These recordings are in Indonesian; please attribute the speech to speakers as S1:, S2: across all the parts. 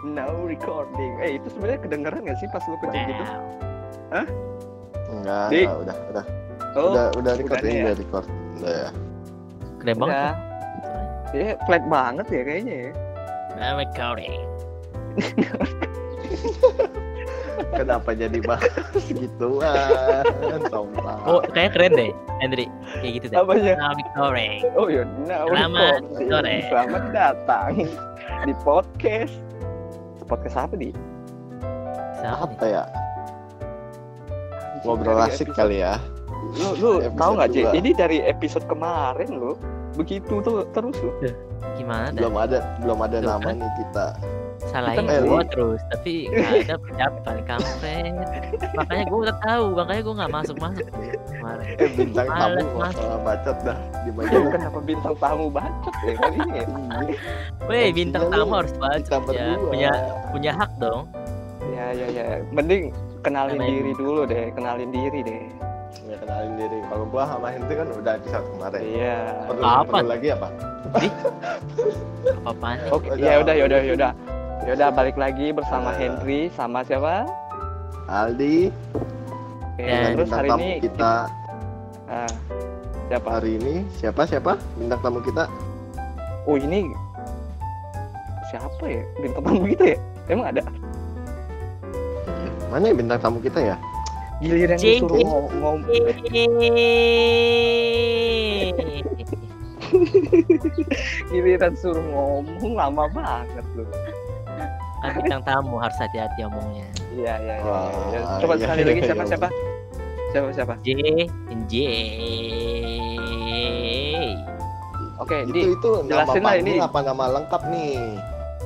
S1: No recording. Eh itu sebenarnya kedengeran gak sih pas lu kencing gitu?
S2: Enggak,
S1: Dik.
S2: enggak, udah, udah, udah, udah record
S1: Oh, udah
S2: ini,
S1: ya?
S2: udah record, udah ya.
S3: Keren banget.
S1: udah. Dia flat banget ya kayaknya ya.
S3: Nah, recording.
S2: Kenapa jadi bahas gituan, sompah.
S3: Oh, kayaknya keren deh, Hendri. Kayak gitu deh.
S1: Apanya?
S3: Nah, recording.
S1: Oh ya, now
S3: Selamat
S1: recording.
S3: sore.
S1: Selamat datang di podcast. Podcast apa nih?
S3: Siapa
S2: apa ya? Ngobrol
S1: Dari
S2: asik
S1: episode-
S2: kali ya.
S1: Lu lu
S2: Episode
S1: tahu nggak Ji?
S2: dua.
S1: Ini dari episode kemarin lu begitu tuh terus lu.
S3: nih? Gimana dah?
S2: Belum ada, belum ada
S3: Tuh,
S2: nama
S3: kan?
S2: nih kita.
S3: Salahin
S2: Kita
S3: gua
S2: nggak-
S3: terus, tapi nggak ada pendapat kampret. Makanya gua udah tahu, makanya gua nggak masuk-masuk tuh kemarin.
S2: Eh, bintang tamu
S3: Males,
S2: nggak
S3: Mas.
S2: salah bacot dah. Di bagian
S1: Ya, Kenapa bintang tamu bacot ya kali ini? ya?
S2: ini
S3: Weh, bintang
S2: Iya,
S3: tamu
S2: lu.
S3: harus
S2: kita
S3: baca ya.
S2: berdua.
S3: Punya punya hak dong.
S1: Ya ya ya. Mending kenalin
S3: Kenalin.
S1: diri dulu deh, kenalin diri deh.
S2: Ya, kenalin diri. Kalau gua sama Henry kan udah episode kemarin.
S1: Iya.
S2: Perlu,
S3: Apa?
S2: perlu lagi apa?
S3: Apa-apaan nih?
S1: Oke,
S2: Udah.
S1: ya udah ya udah ya udah. Ya udah balik lagi bersama
S2: Udah.
S1: Henry sama siapa?
S2: Aldi,
S1: Oke,
S3: Dan
S2: dengan
S1: terus
S2: bintang
S1: hari
S2: tamu
S1: ini
S2: kita
S1: Ah, siapa?
S2: hari ini siapa siapa bintang tamu kita?
S1: Oh ini siapa ya bintang tamu kita ya? Emang ada
S2: Mana ya bintang tamu kita ya?
S1: giliran
S3: Jing.
S1: disuruh ngom- ngom- giliran suruh ngomong lama banget lu.
S3: kan bintang tamu harus hati-hati omongnya.
S1: Iya iya iya.
S2: Wah,
S1: iya. Coba
S2: iya,
S1: sekali
S2: iya,
S1: lagi
S2: iya,
S1: siapa
S2: iya.
S1: siapa? Siapa siapa?
S3: J J
S1: Oke,
S2: itu
S1: Di,
S2: itu nama
S1: jelasin lah
S2: panggung
S1: ini.
S2: apa nama lengkap nih?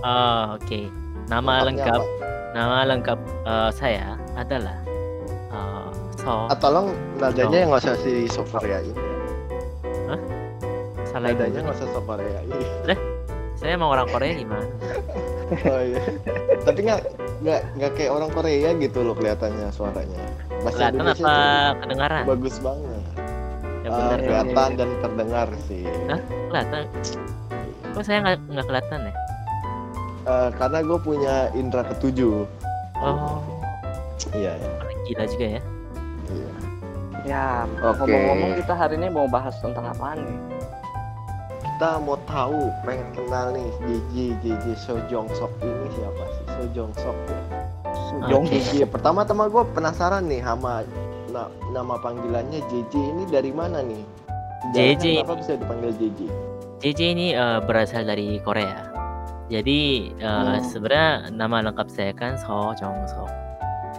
S3: Oh, oke. Nama
S2: Lengkapnya
S3: lengkap
S2: apa?
S3: nama lengkap eh, saya adalah eh, So
S2: Ah, tolong nadanya yang nggak usah si Koreain.
S3: salah ibu.
S2: Nadanya nggak usah ya. so Koreain.
S3: Saya emang orang Korea gimana?
S2: Oh iya. Tapi nggak nggak nggak kayak orang Korea gitu loh kelihatannya suaranya. Bahasa
S3: Kelihatan
S2: Indonesia
S3: apa
S2: tuh
S3: kedengaran?
S2: bagus banget.
S3: Ya
S2: Ah,
S1: iya,
S3: bener.
S2: kelihatan dan terdengar sih.
S3: Hah? kelihatan. Kok saya nggak nggak kelihatan ya?
S2: Eh, karena gue punya indera ketujuh.
S3: Oh,
S2: Iya. iya.
S3: orang gila juga ya.
S2: iya.
S1: ya
S2: Oke.
S1: ngomong-ngomong kita hari ini mau bahas tentang apaan nih?
S2: Kita mau tahu, pengen kenal nih Gigi Gigi Sojong Sok ini siapa sih? Sojong Sok ya.
S1: Sujong.
S2: Gigi. Pertama tama gue penasaran nih sama na- nama panggilannya JJ ini dari mana nih? Sejarahnya
S3: JJ.
S2: Kenapa bisa dipanggil JJ?
S3: JJ ini eh, berasal dari Korea. Jadi eh,
S1: Oh.
S3: sebenarnya nama lengkap saya kan So Jong Sok.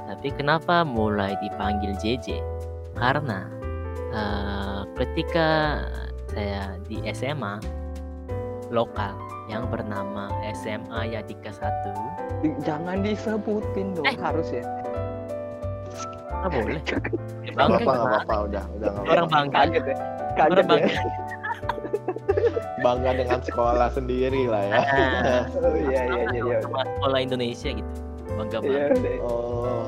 S3: Tapi kenapa mulai dipanggil JJ? Karena eh, ketika saya di SMA lokal yang bernama SMA Yadika 1
S1: Di- Jangan disebutin dong harus ya.
S3: nggak ah, boleh.
S2: Gak
S3: Bangke
S2: apa-apa, gak
S3: gimana?
S2: apa-apa, udah, udah gak
S3: Orang
S2: apa-apa.
S3: bangga.
S1: Kaget ya. Kaget
S3: Orang
S1: ya.
S3: bangga.
S2: Bangga dengan sekolah sendiri lah ya.
S3: Nah,
S1: Oh, Iya iya iya iya.
S3: sama sekolah Indonesia gitu. Bangga
S1: Iya,
S3: banget.
S1: deh.
S2: Oh,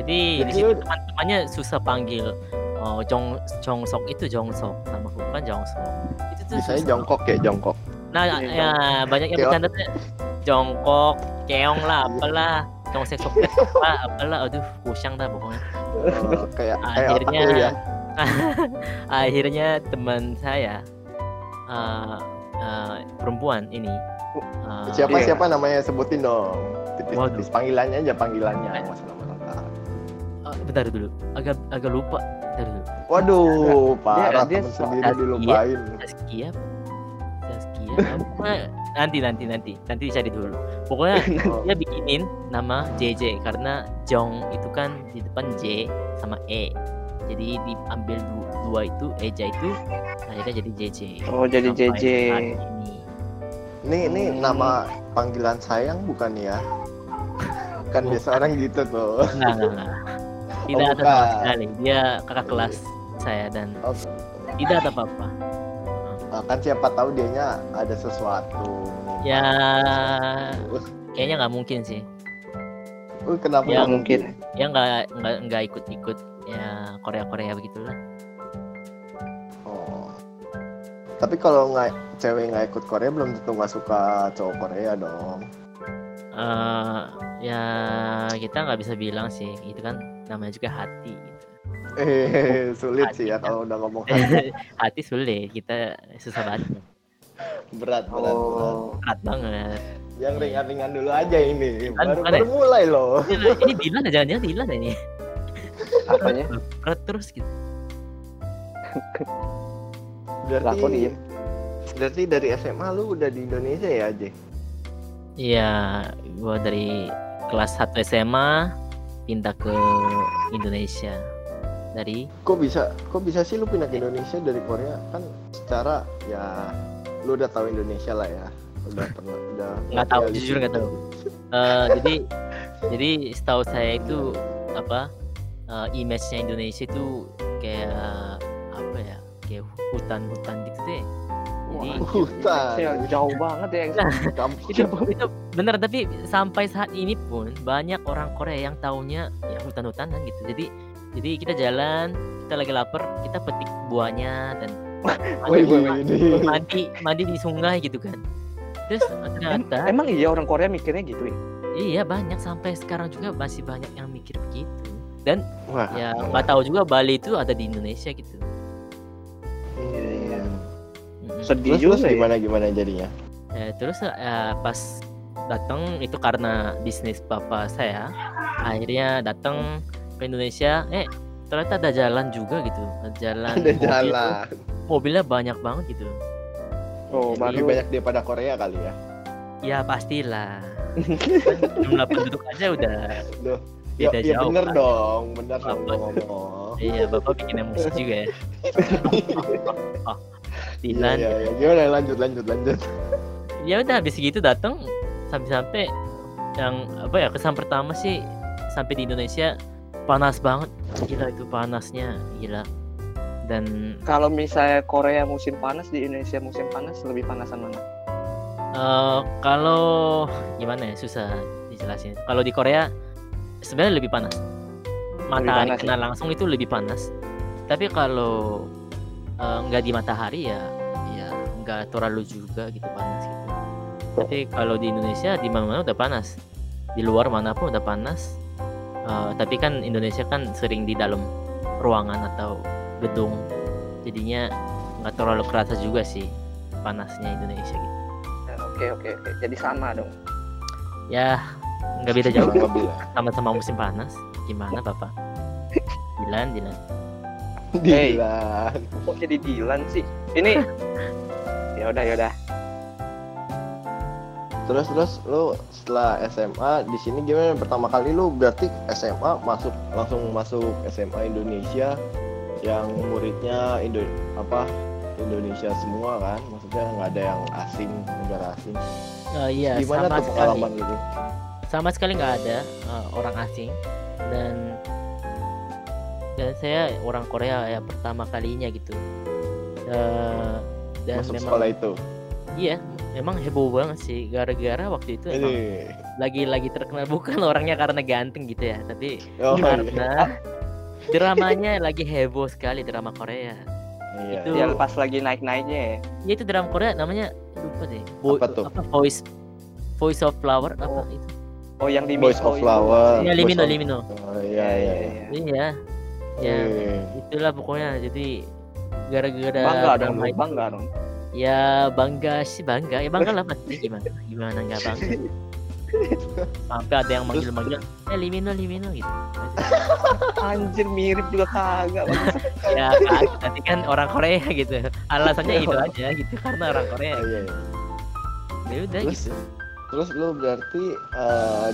S3: Jadi di
S2: Jadi
S3: situ
S2: lu-
S3: teman-temannya susah panggil oh, Jong Jongsok itu Jongsok nama aku kan Jongsok. Itu tuh
S2: misalnya
S3: susah.
S2: jongkok ya, jongkok.
S3: Nah,
S1: Iya,
S3: ya, banyak yang
S2: Keong. Iya.
S3: bercanda tuh jongkok, keong lah, apalah, jongsek soket lah, apalah, aduh, kusang dah pokoknya.
S2: Oh, kayak kayak otak
S3: Akhirnya- oh.
S2: lu ya.
S3: Akhirnya teman saya eh, eh, perempuan ini eh,
S2: Siapa
S1: Iya.
S2: siapa namanya sebutin dong. Titis,
S3: Waduh.
S2: titis panggilannya aja panggilannya masa nama lengkap.
S3: eh, bentar dulu, agak agak lupa. Bentar dulu.
S2: Waduh, parah
S1: dia
S2: temen
S1: suka-
S2: sendiri
S3: Iya.
S2: dilupain.
S3: Saskia Saskia apa? nanti nanti nanti nanti dicari dulu pokoknya
S2: Oh,
S3: dia bikinin nama JJ karena Jong itu kan di depan J sama E jadi diambil du- dua itu Eja itu akhirnya jadi JJ
S1: Oh, jadi
S3: Sampai
S1: JJ.
S3: hari ini.
S2: Ini ini
S1: Hmm.
S2: nama panggilan sayang bukan ya? Kan
S3: Bukan.
S2: biasa orang gitu tuh.
S3: enggak enggak enggak tidak ada
S2: bukan.
S3: sama sekali dia kakak kelas saya dan
S2: Oh,
S3: tidak ada apa-apa
S2: kan siapa tahu dianya ada sesuatu.
S3: ya kayaknya nggak mungkin sih
S2: Uh, kenapa
S3: Ya,
S2: nggak
S1: mungkin.
S3: ya nggak nggak nggak ikut-ikut ya Korea Korea begitulah
S2: Oh. Tapi kalau nggak cewek nggak ikut Korea belum tentu nggak suka cowok Korea dong.
S3: eh, ya kita nggak bisa bilang sih itu kan namanya juga hati gitu.
S2: Eh, sulit sih ya kalau udah ngomong
S3: Eh.
S2: hati.
S3: hati sulit kita susah banget
S2: berat berat, berat.
S1: Oh,
S3: berat banget
S2: Yang ringan-ringan dulu aja ini.
S3: Bukan,
S2: Baru,
S3: Kan bukan ya?
S2: baru mulai loh.
S3: ini, Nah, ini Dilan jangan-jangan Dilan ini
S1: apanya?
S3: berat terus gitu
S2: Berarti
S1: Lakon, iya.
S2: Berarti dari SMA lu udah di Indonesia ya, Aje?
S3: Iya, gua dari kelas 1 SMA pindah ke Indonesia dari
S2: Kok bisa kok bisa sih lu pindah ke Indonesia dari Korea? Kan secara ya lu udah tahu Indonesia lah ya. Udah pernah udah
S3: Nggak tahu, jujur nggak tahu. eh, jadi jadi setahu saya itu apa eh, image-nya Indonesia itu kayak apa ya kayak hutan-hutan gitu deh. Jadi
S1: Wah,
S2: Hutan.
S1: saya jauh banget ya.
S2: Kampung.
S3: itu, itu bener tapi sampai saat ini pun banyak orang Korea yang taunya ya hutan-hutanan gitu. Jadi jadi kita jalan, kita lagi lapar, kita petik buahnya dan
S2: Woi, woi, woi, ini.
S3: mandi mandi di sungai gitu kan terus
S1: Em-
S3: ternyata
S1: emang iya orang Korea mikirnya gitu ya?
S3: iya banyak sampai sekarang juga masih banyak yang mikir begitu dan
S2: Wah.
S1: Ah,
S3: ya nggak tahu juga Bali itu ada di Indonesia gitu
S1: Iya, iya.
S3: Mm-mm.
S1: Sedih
S2: Terus, terus
S1: juga ya.
S2: gimana gimana jadinya?
S3: Eh, terus eh, pas datang itu karena bisnis papa saya akhirnya datang ke Indonesia eh ternyata ada jalan juga gitu Ada jalan
S2: Ada
S3: mobil.
S2: jalan.
S3: mobilnya banyak banget gitu
S1: Oh,
S3: Jadi
S2: Lebih
S1: baru
S2: banyak daripada Korea kali ya.
S3: ya pastilah Kan jumlah penduduk aja udah
S2: Duh. Ya,
S3: beda
S2: ya
S3: jauh
S2: bener
S3: kan.
S2: dong, bener dong
S3: Apa?
S2: ngomong.
S3: Iya, bapak bikin emosi juga ya. oh,
S2: Iya,
S3: Dilan.
S2: iya, iya. Gimana lanjut lanjut lanjut.
S3: Ya udah habis gitu datang sampai-sampai yang apa ya kesan pertama sih sampai di Indonesia panas banget. Gila itu panasnya, gila. Dan
S1: kalau misalnya Korea musim panas di Indonesia musim panas lebih panasan mana?
S3: eh, kalau gimana ya susah dijelasin. Kalau di Korea sebenarnya lebih panas. Matahari
S1: panas ya?
S3: kena langsung itu lebih panas. Tapi kalau eh, nggak di matahari ya ya nggak terlalu juga gitu panas gitu. Tapi kalau di Indonesia di mana-mana udah panas. Di luar manapun udah panas. Eh, tapi kan Indonesia kan sering di dalam ruangan atau gedung. Jadinya nggak terlalu kerasa juga sih panasnya Indonesia gitu.
S1: Ya, Oke oke oke. Jadi sama dong.
S3: Ya, nggak beda jauh.
S2: Kurang lebih lah.
S3: Sama-sama musim panas. Gimana, Bapak? Dilan, Dilan.
S1: Hey.
S2: Dilan.
S1: Kok jadi Dilan sih? Ini ya udah ya udah.
S2: Terus terus lu setelah SMA di sini gimana pertama kali lu berarti SMA masuk langsung masuk SMA Indonesia yang muridnya Indo apa Indonesia semua kan maksudnya nggak ada yang asing negara asing
S3: iya,
S2: gimana
S3: sama
S2: tuh
S3: sekali.
S2: pengalaman lu
S3: Sama sekali nggak ada eh, orang asing dan dan saya orang Korea ya pertama kalinya gitu. Eh, dan
S2: masuk
S3: memang
S2: sekolah ya? itu
S3: iya, memang heboh banget sih gara-gara waktu itu
S2: ini
S3: emang lagi-lagi terkenal bukan orangnya karena ganteng gitu ya, tapi
S2: oh, iya.
S3: karena dramanya lagi heboh sekali drama Korea.
S2: Iya.
S3: itu-
S1: Ya pas lagi naik naiknya ya.
S3: Ya itu drama Korea namanya lupa deh. Bo-
S2: Apa tuh?
S3: voice Voice of Flower
S1: Oh,
S3: apa itu?
S1: Oh yang di
S2: Boys
S1: oh,
S2: of
S1: iya.
S2: Flower
S3: Ya, Limino,
S2: Boys of-
S3: Limino.
S2: Oh, iya iya iya.
S3: Iya. Ya,
S2: Iya.
S3: itulah pokoknya jadi gara-gara
S1: Hmm. Bangga dong,
S3: drama
S1: lu,
S3: itu-
S1: bangga dong.
S3: Ya bangga sih bangga. Ya bangga lah pasti gimana? Gimana nggak bangga? Sampai ada yang manggil-manggil, "Eh, Limino, Limino" gitu.
S1: Anjir mirip juga kagak. bangsat.
S3: Ya, kan, tapi kan orang Korea gitu. Alasannya
S1: Iya.
S3: itu aja gitu karena orang Korea.
S2: Iya, iya.
S3: Ya udah
S2: terus
S3: gitu.
S2: terus lu berarti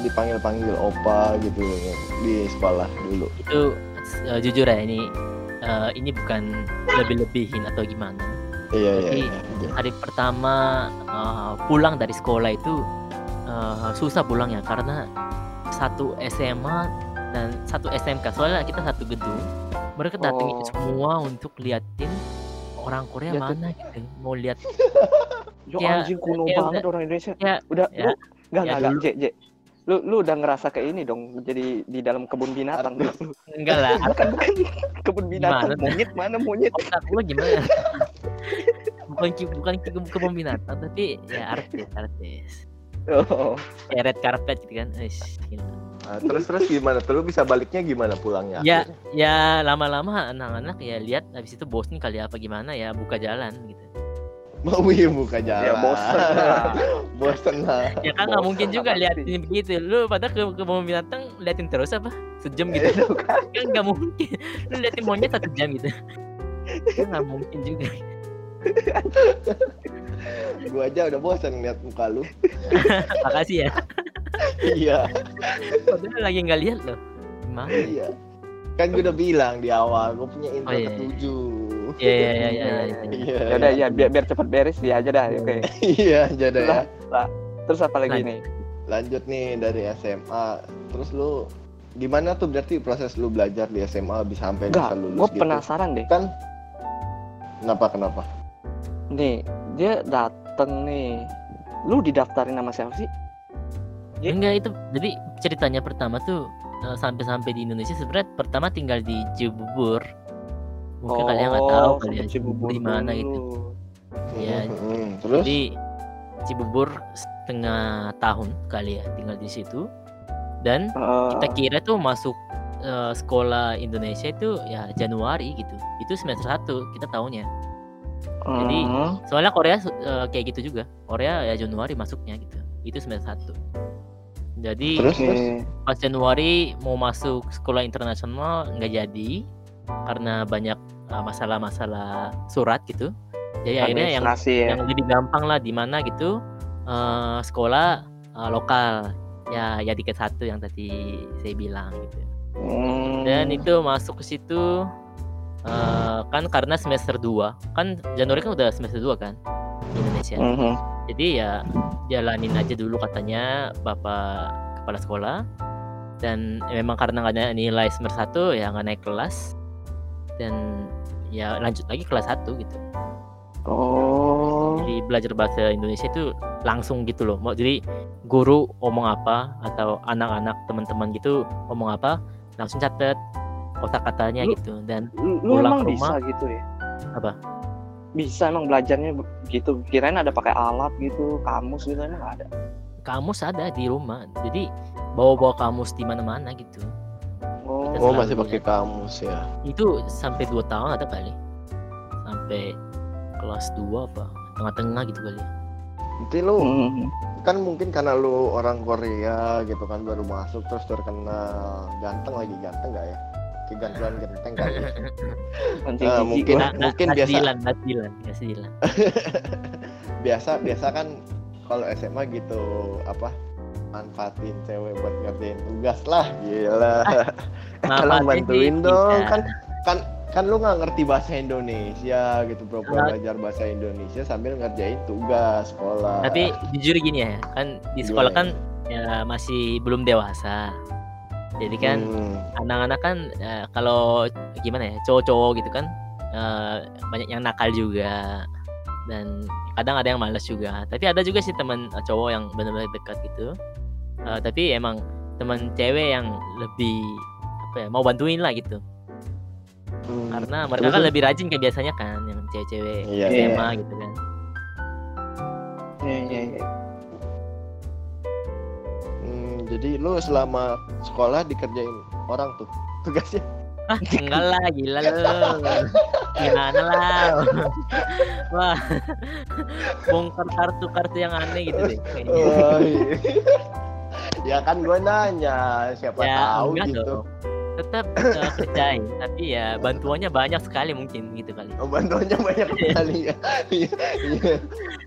S2: dipanggil panggil opa gitu ya, di sekolah dulu
S3: itu eh, jujur ya ini eh, ini bukan lebih-lebihin atau gimana
S2: iya iya
S3: Tapi-
S2: iya, iya.
S3: hari pertama eh, pulang dari sekolah itu eh, susah pulangnya karena satu SMA dan satu SMK soalnya kita satu gedung mereka datang
S1: Oh.
S3: semua untuk liatin orang Korea
S1: Liatin.
S3: mana gitu mau lihat
S1: Yo
S3: Ya,
S1: anjing kuno
S3: ya
S1: banget orang Indonesia.
S3: Ya,
S1: udah lu
S3: ya.
S1: enggak
S3: Ya,
S1: enggak enggak, Jek, Jek. Lu lu udah ngerasa kayak ini dong jadi di dalam kebun binatang.
S3: enggak lah
S1: bukan bukan kebun binatang.
S3: Gimana?
S1: Monyet mana monyet?
S3: otak lu gimana bukan ki- bukan ke, ke, kebun binatang, tapi ya artis artis
S1: Oh,
S3: kayak red carpet gitu kan Eish, gila.
S2: Nah, terus terus gimana? Terus bisa baliknya gimana pulangnya?
S3: ya
S2: akhirnya?
S3: ya lama-lama anak-anak ya lihat habis itu bosen kali apa gimana ya buka jalan gitu
S2: Mau ya buka jalan.
S1: ya bosan. lah.
S2: bosen lah.
S3: ya kan
S1: Bosen,
S3: nggak mungkin juga
S1: pasti.
S3: liatin begitu lu pada ke kebun binatang liatin terus apa sejam gitu
S2: Itu kan.
S3: kan nggak mungkin lu liatin monyet satu jam gitu kan nggak mungkin juga
S2: Gua aja udah bosen lihat muka lu.
S3: makasih ya
S2: Iya,
S3: padahal lagi nggak lihat loh gimana ya?
S2: iya. Kan gua udah bilang di awal, gua punya intro
S3: Oh, iya, iya.
S2: ketujuh.
S3: Iya iya iya iya. iya, iya.
S2: Iya.
S1: Ya udah ya biar biar cepat beres dia aja dah. ya, Oke.
S2: Iya, jadi ya.
S1: Lah, lah. Terus apa lagi
S3: Lanjut.
S1: nih?
S2: Lanjut nih dari SMA. Terus lu gimana tuh berarti proses lu belajar di SMA habis sampai
S1: Enggak,
S2: bisa lulus
S1: gue
S2: gitu?
S1: penasaran deh.
S2: Kan kenapa kenapa?
S1: Nih, dia dateng nih. Lu didaftarin nama siapa sih? Iya.
S3: enggak itu jadi ceritanya pertama tuh eh, sampai-sampai di Indonesia sebenarnya pertama tinggal di Cibubur mungkin kalian nggak tahu kali ya
S1: sempet Oh,
S3: Cibubur
S1: Cibubur
S3: di mana
S1: dulu.
S3: gitu Iya.
S2: Mm-mm. Terus
S3: Jadi Cibubur setengah tahun kali ya tinggal di situ. Dan
S1: Heeh.
S3: kita kira tuh masuk eh, sekolah Indonesia itu ya Januari gitu. Itu semester 1 kita tahunnya. jadi,
S1: Heeh.
S3: Soalnya Korea su- eh, kayak gitu juga. Korea ya Januari masuknya gitu. Itu semester 1. Jadi
S2: terus
S1: Oke.
S2: terus
S3: pas Januari mau masuk sekolah internasional nggak jadi karena banyak eh, masalah-masalah surat gitu. Jadi akhirnya yang
S1: Administrasi ya.
S3: yang lebih gampang lah di mana gitu eh, sekolah eh, lokal ya ya tiket satu yang tadi saya bilang gitu
S1: Hmm.
S3: dan itu masuk ke situ eh, kan karena semester 2 kan Januari kan udah semester 2 kan di Indonesia
S1: Mhm.
S3: jadi ya jalanin aja dulu katanya bapak kepala sekolah dan memang karena nggak ada nilai semester 1 ya nggak naik kelas dan ya lanjut lagi kelas 1 gitu
S1: Oh.
S3: jadi belajar bahasa Indonesia itu langsung gitu loh mau jadi guru omong apa atau anak-anak teman-teman gitu omong apa langsung catet otak katanya
S1: Lu-
S3: gitu dan
S1: Lu, lu emang
S3: pulang ke
S1: bisa
S3: rumah.
S1: gitu ya?
S3: Apa?
S1: Bisa emang belajarnya be- gitu. Kirain ada pakai alat gitu, kamus gitu emang ada.
S3: kamus ada di rumah jadi bawa-bawa kamus di mana-mana gitu
S1: Oh.
S3: Kita
S2: oh
S3: selalu
S2: masih
S3: punya.
S2: pakai kamus ya.
S3: itu sampai 2 tahun ada kali sampai kelas 2 apa tengah-tengah gitu kali ya.
S2: Nanti lu
S1: Mhm.
S2: kan mungkin karena lu orang Korea gitu kan baru masuk terus terkenal ganteng lagi ganteng nggak ya kegantuan ganteng kali ya?
S1: Pancing
S2: Eh,
S1: gigi
S2: mungkin-
S1: gua.
S3: Nah, nah,
S2: mungkin biasa.
S3: nasilan, nasilan, nasilan.
S2: biasa biasa kan kalau SMA gitu apa manfaatin cewek buat ngerjain tugas lah gila tolong
S3: Manfaatnya Ah, sih
S2: bantuin
S3: iya. ya.
S2: dong
S3: bisa.
S2: kan kan kan lu nggak ngerti bahasa Indonesia gitu bro
S3: Nah.
S2: belajar bahasa Indonesia sambil ngerjain tugas sekolah
S3: tapi jujur gini ya kan di sekolah kan
S2: Gimana?
S3: ya masih belum dewasa jadi kan
S2: Hmm.
S3: anak-anak kan eh, kalau gimana ya cowok-cowok gitu kan eh, banyak yang nakal juga dan kadang ada yang malas juga tapi ada juga sih teman eh, cowok yang benar-benar dekat gitu Eh, tapi emang teman cewek yang lebih apa ya mau bantuin lah gitu
S2: Hmm.
S3: karena mereka kan lebih rajin kayak biasanya kan yang cewek-cewek
S2: Iya,
S1: Iya.
S3: SMA gitu kan
S1: Iya, iya, iya.
S2: Hmm, jadi lu selama sekolah dikerjain orang tuh tugasnya.
S3: Ah, enggak lah, gila lu. Gimana lah. Wah. Bongkar kartu-kartu yang aneh gitu deh. kayaknya.
S2: ya kan gue nanya siapa
S3: Ya,
S2: tahu
S3: enggak
S2: gitu.
S3: dong. Tetap eh, kerjain, tapi ya bantuannya banyak sekali mungkin gitu kali.
S2: Oh, bantuannya banyak sekali ya. Iya, iya.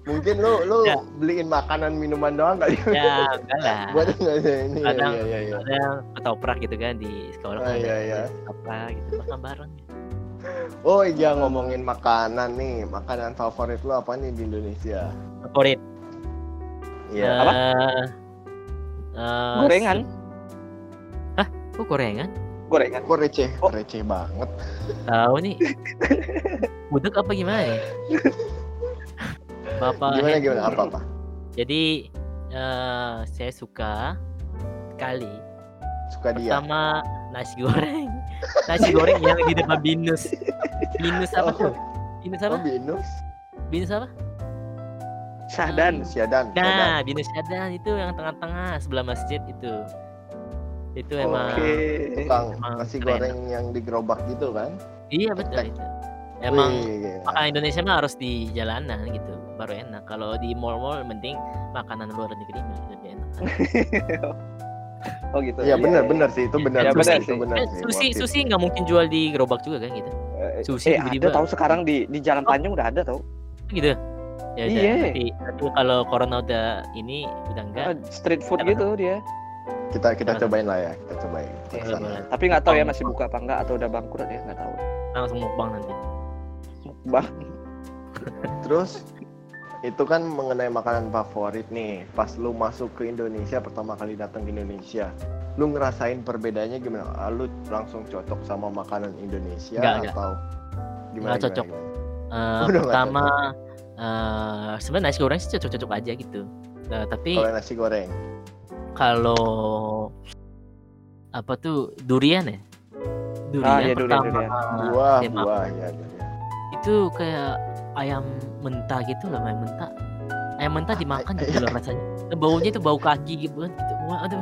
S2: Mungkin lu lu
S3: Ya.
S2: beliin makanan minuman doang kali.
S3: Ya, enggak lah.
S2: Buat enggak sih ini. Iya,
S3: Kadang-
S2: iya, iya.
S3: Ada yang ketoprak gitu kan di sekolah.
S2: Oh,
S3: kan
S2: iya,
S3: ada
S2: iya.
S3: Apa gitu makan bareng.
S2: Oh iya ngomongin makanan nih, makanan favorit lu apa nih di Indonesia?
S3: Favorit.
S2: Iya.
S1: Apa?
S3: Eh, eh,
S1: Gorengan,
S3: se- Kok gorengan?
S1: gorengan.
S2: Kok receh,
S1: Oh.
S2: receh banget.
S3: Tahu nih. Budek apa gimana ya? Bapak
S2: Gimana
S3: Hendro.
S2: gimana apa apa?
S3: Jadi eh saya suka sekali
S2: Suka dia.
S3: pertama nasi goreng. Nasi goreng yang di depan binus. Binus apa
S2: Oh.
S3: tuh? Binus
S2: Oh,
S3: apa?
S2: binus.
S3: Binus apa?
S1: Syahdan.
S2: Siadan. Siadan.
S3: Nah, Binus Syadan itu yang tengah-tengah sebelah masjid itu. Itu
S2: Oh,
S3: emang
S1: Oke.
S2: Tukang
S3: Emang
S2: nasi
S3: keren.
S2: goreng yang digerobak gitu kan?
S3: iya betul itu. Emang
S2: Wih, gila.
S3: makanan Indonesia mah harus di jalanan gitu, baru enak. Kalau di mall-mall penting makanan luar negeri lebih enak.
S1: Oh gitu.
S2: Iya benar
S1: iya.
S2: benar sih itu benar.
S1: Iya,
S2: sih,
S1: benar
S2: itu
S1: sih.
S2: benar
S3: Kan
S2: sih.
S3: sushi
S2: worth it.
S3: sushi nggak mungkin jual di gerobak juga kan gitu.
S1: Eh,
S3: Sushi
S1: eh, ada
S3: tiba-tiba.
S1: tahu sekarang di di Jalan
S3: Oh.
S1: Tanjung udah ada tau.
S3: Gitu. Ya udah,
S1: Iya.
S3: nanti, nanti kalau corona udah ini udah enggak.
S1: Eh, Street food
S3: Ya. Ada. kan?
S1: gitu dia.
S2: Kita kita
S3: Gimana?
S2: cobain lah ya, kita cobain.
S1: Iya,
S2: Kesana.
S3: boleh.
S1: Tapi nggak tahu ya
S3: Mukbang.
S1: masih buka apa enggak atau udah bangkrut ya nggak tahu.
S3: langsung mukbang nanti.
S1: Bah,
S2: Terus itu kan mengenai makanan favorit nih. Pas lu masuk ke Indonesia pertama kali datang ke Indonesia, lu ngerasain perbedaannya gimana? Ah, Lu langsung cocok sama makanan Indonesia
S3: Nggak, nggak.
S2: atau gimana?
S3: Nggak cocok.
S2: gimana,
S3: Eh,
S2: Udah nggak
S3: pertama eh sebenarnya nasi goreng sih cocok-cocok aja gitu. Eh, tapi
S2: gimana? Kalau nasi goreng,
S3: kalau apa tuh durian ya? Durian
S1: iya, durian,
S3: pertama
S1: durian.
S2: buah,
S3: tema.
S2: buah ya. ya.
S3: itu kayak ayam mentah gitu loh, ayam mentah. Ayam mentah dimakan gitu loh rasanya. Dan baunya itu bau kaki gitu kan gitu. Wah, aduh.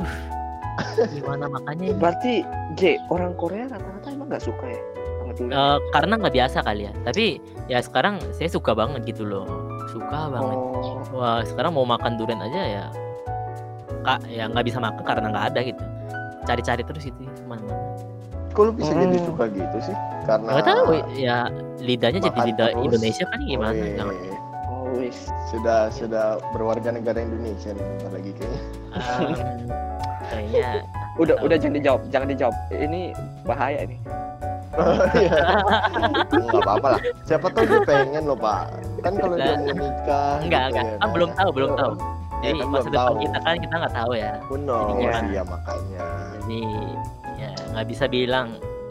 S3: Gimana makannya? ini?
S1: berarti J orang Korea rata-rata emang nggak suka ya sama durian.
S3: Eh, karena nggak biasa kali ya. Tapi ya sekarang saya suka banget gitu loh. Suka banget.
S1: oh,
S3: Wah sekarang mau makan durian aja ya kak ya nggak bisa makan karena nggak ada gitu cari-cari terus itu kemana-mana
S2: Kok lu bisa jadi
S1: Hmm.
S2: suka gitu sih? Karena
S3: nggak tahu ya lidahnya jadi
S2: makan
S3: lidah
S2: terus. iya,
S3: Indonesia kan gimana
S2: Wih,
S3: Nggak-
S1: oh wis.
S2: sudah
S3: Iya.
S2: sudah berwarga negara Indonesia nih bentar lagi kayaknya.
S3: Em, eh, kayaknya
S1: Udah
S3: Tahu.
S1: udah jangan dijawab, jangan dijawab. Ini bahaya nih.
S2: Iya. Nggak apa-apa lah. Siapa tahu dia pengen loh pak. Kan kalau dia mau nikah.
S3: enggak
S2: gitu
S3: enggak
S2: ya
S3: kan
S2: kan.
S3: belum tahu belum tahu jadi
S2: kan
S3: masa
S2: belum
S3: depan
S2: tahu.
S3: kita kan kita nggak tahu ya
S2: Who knows?
S1: Iya.
S2: Iya makanya.
S3: jadi ya nggak bisa bilang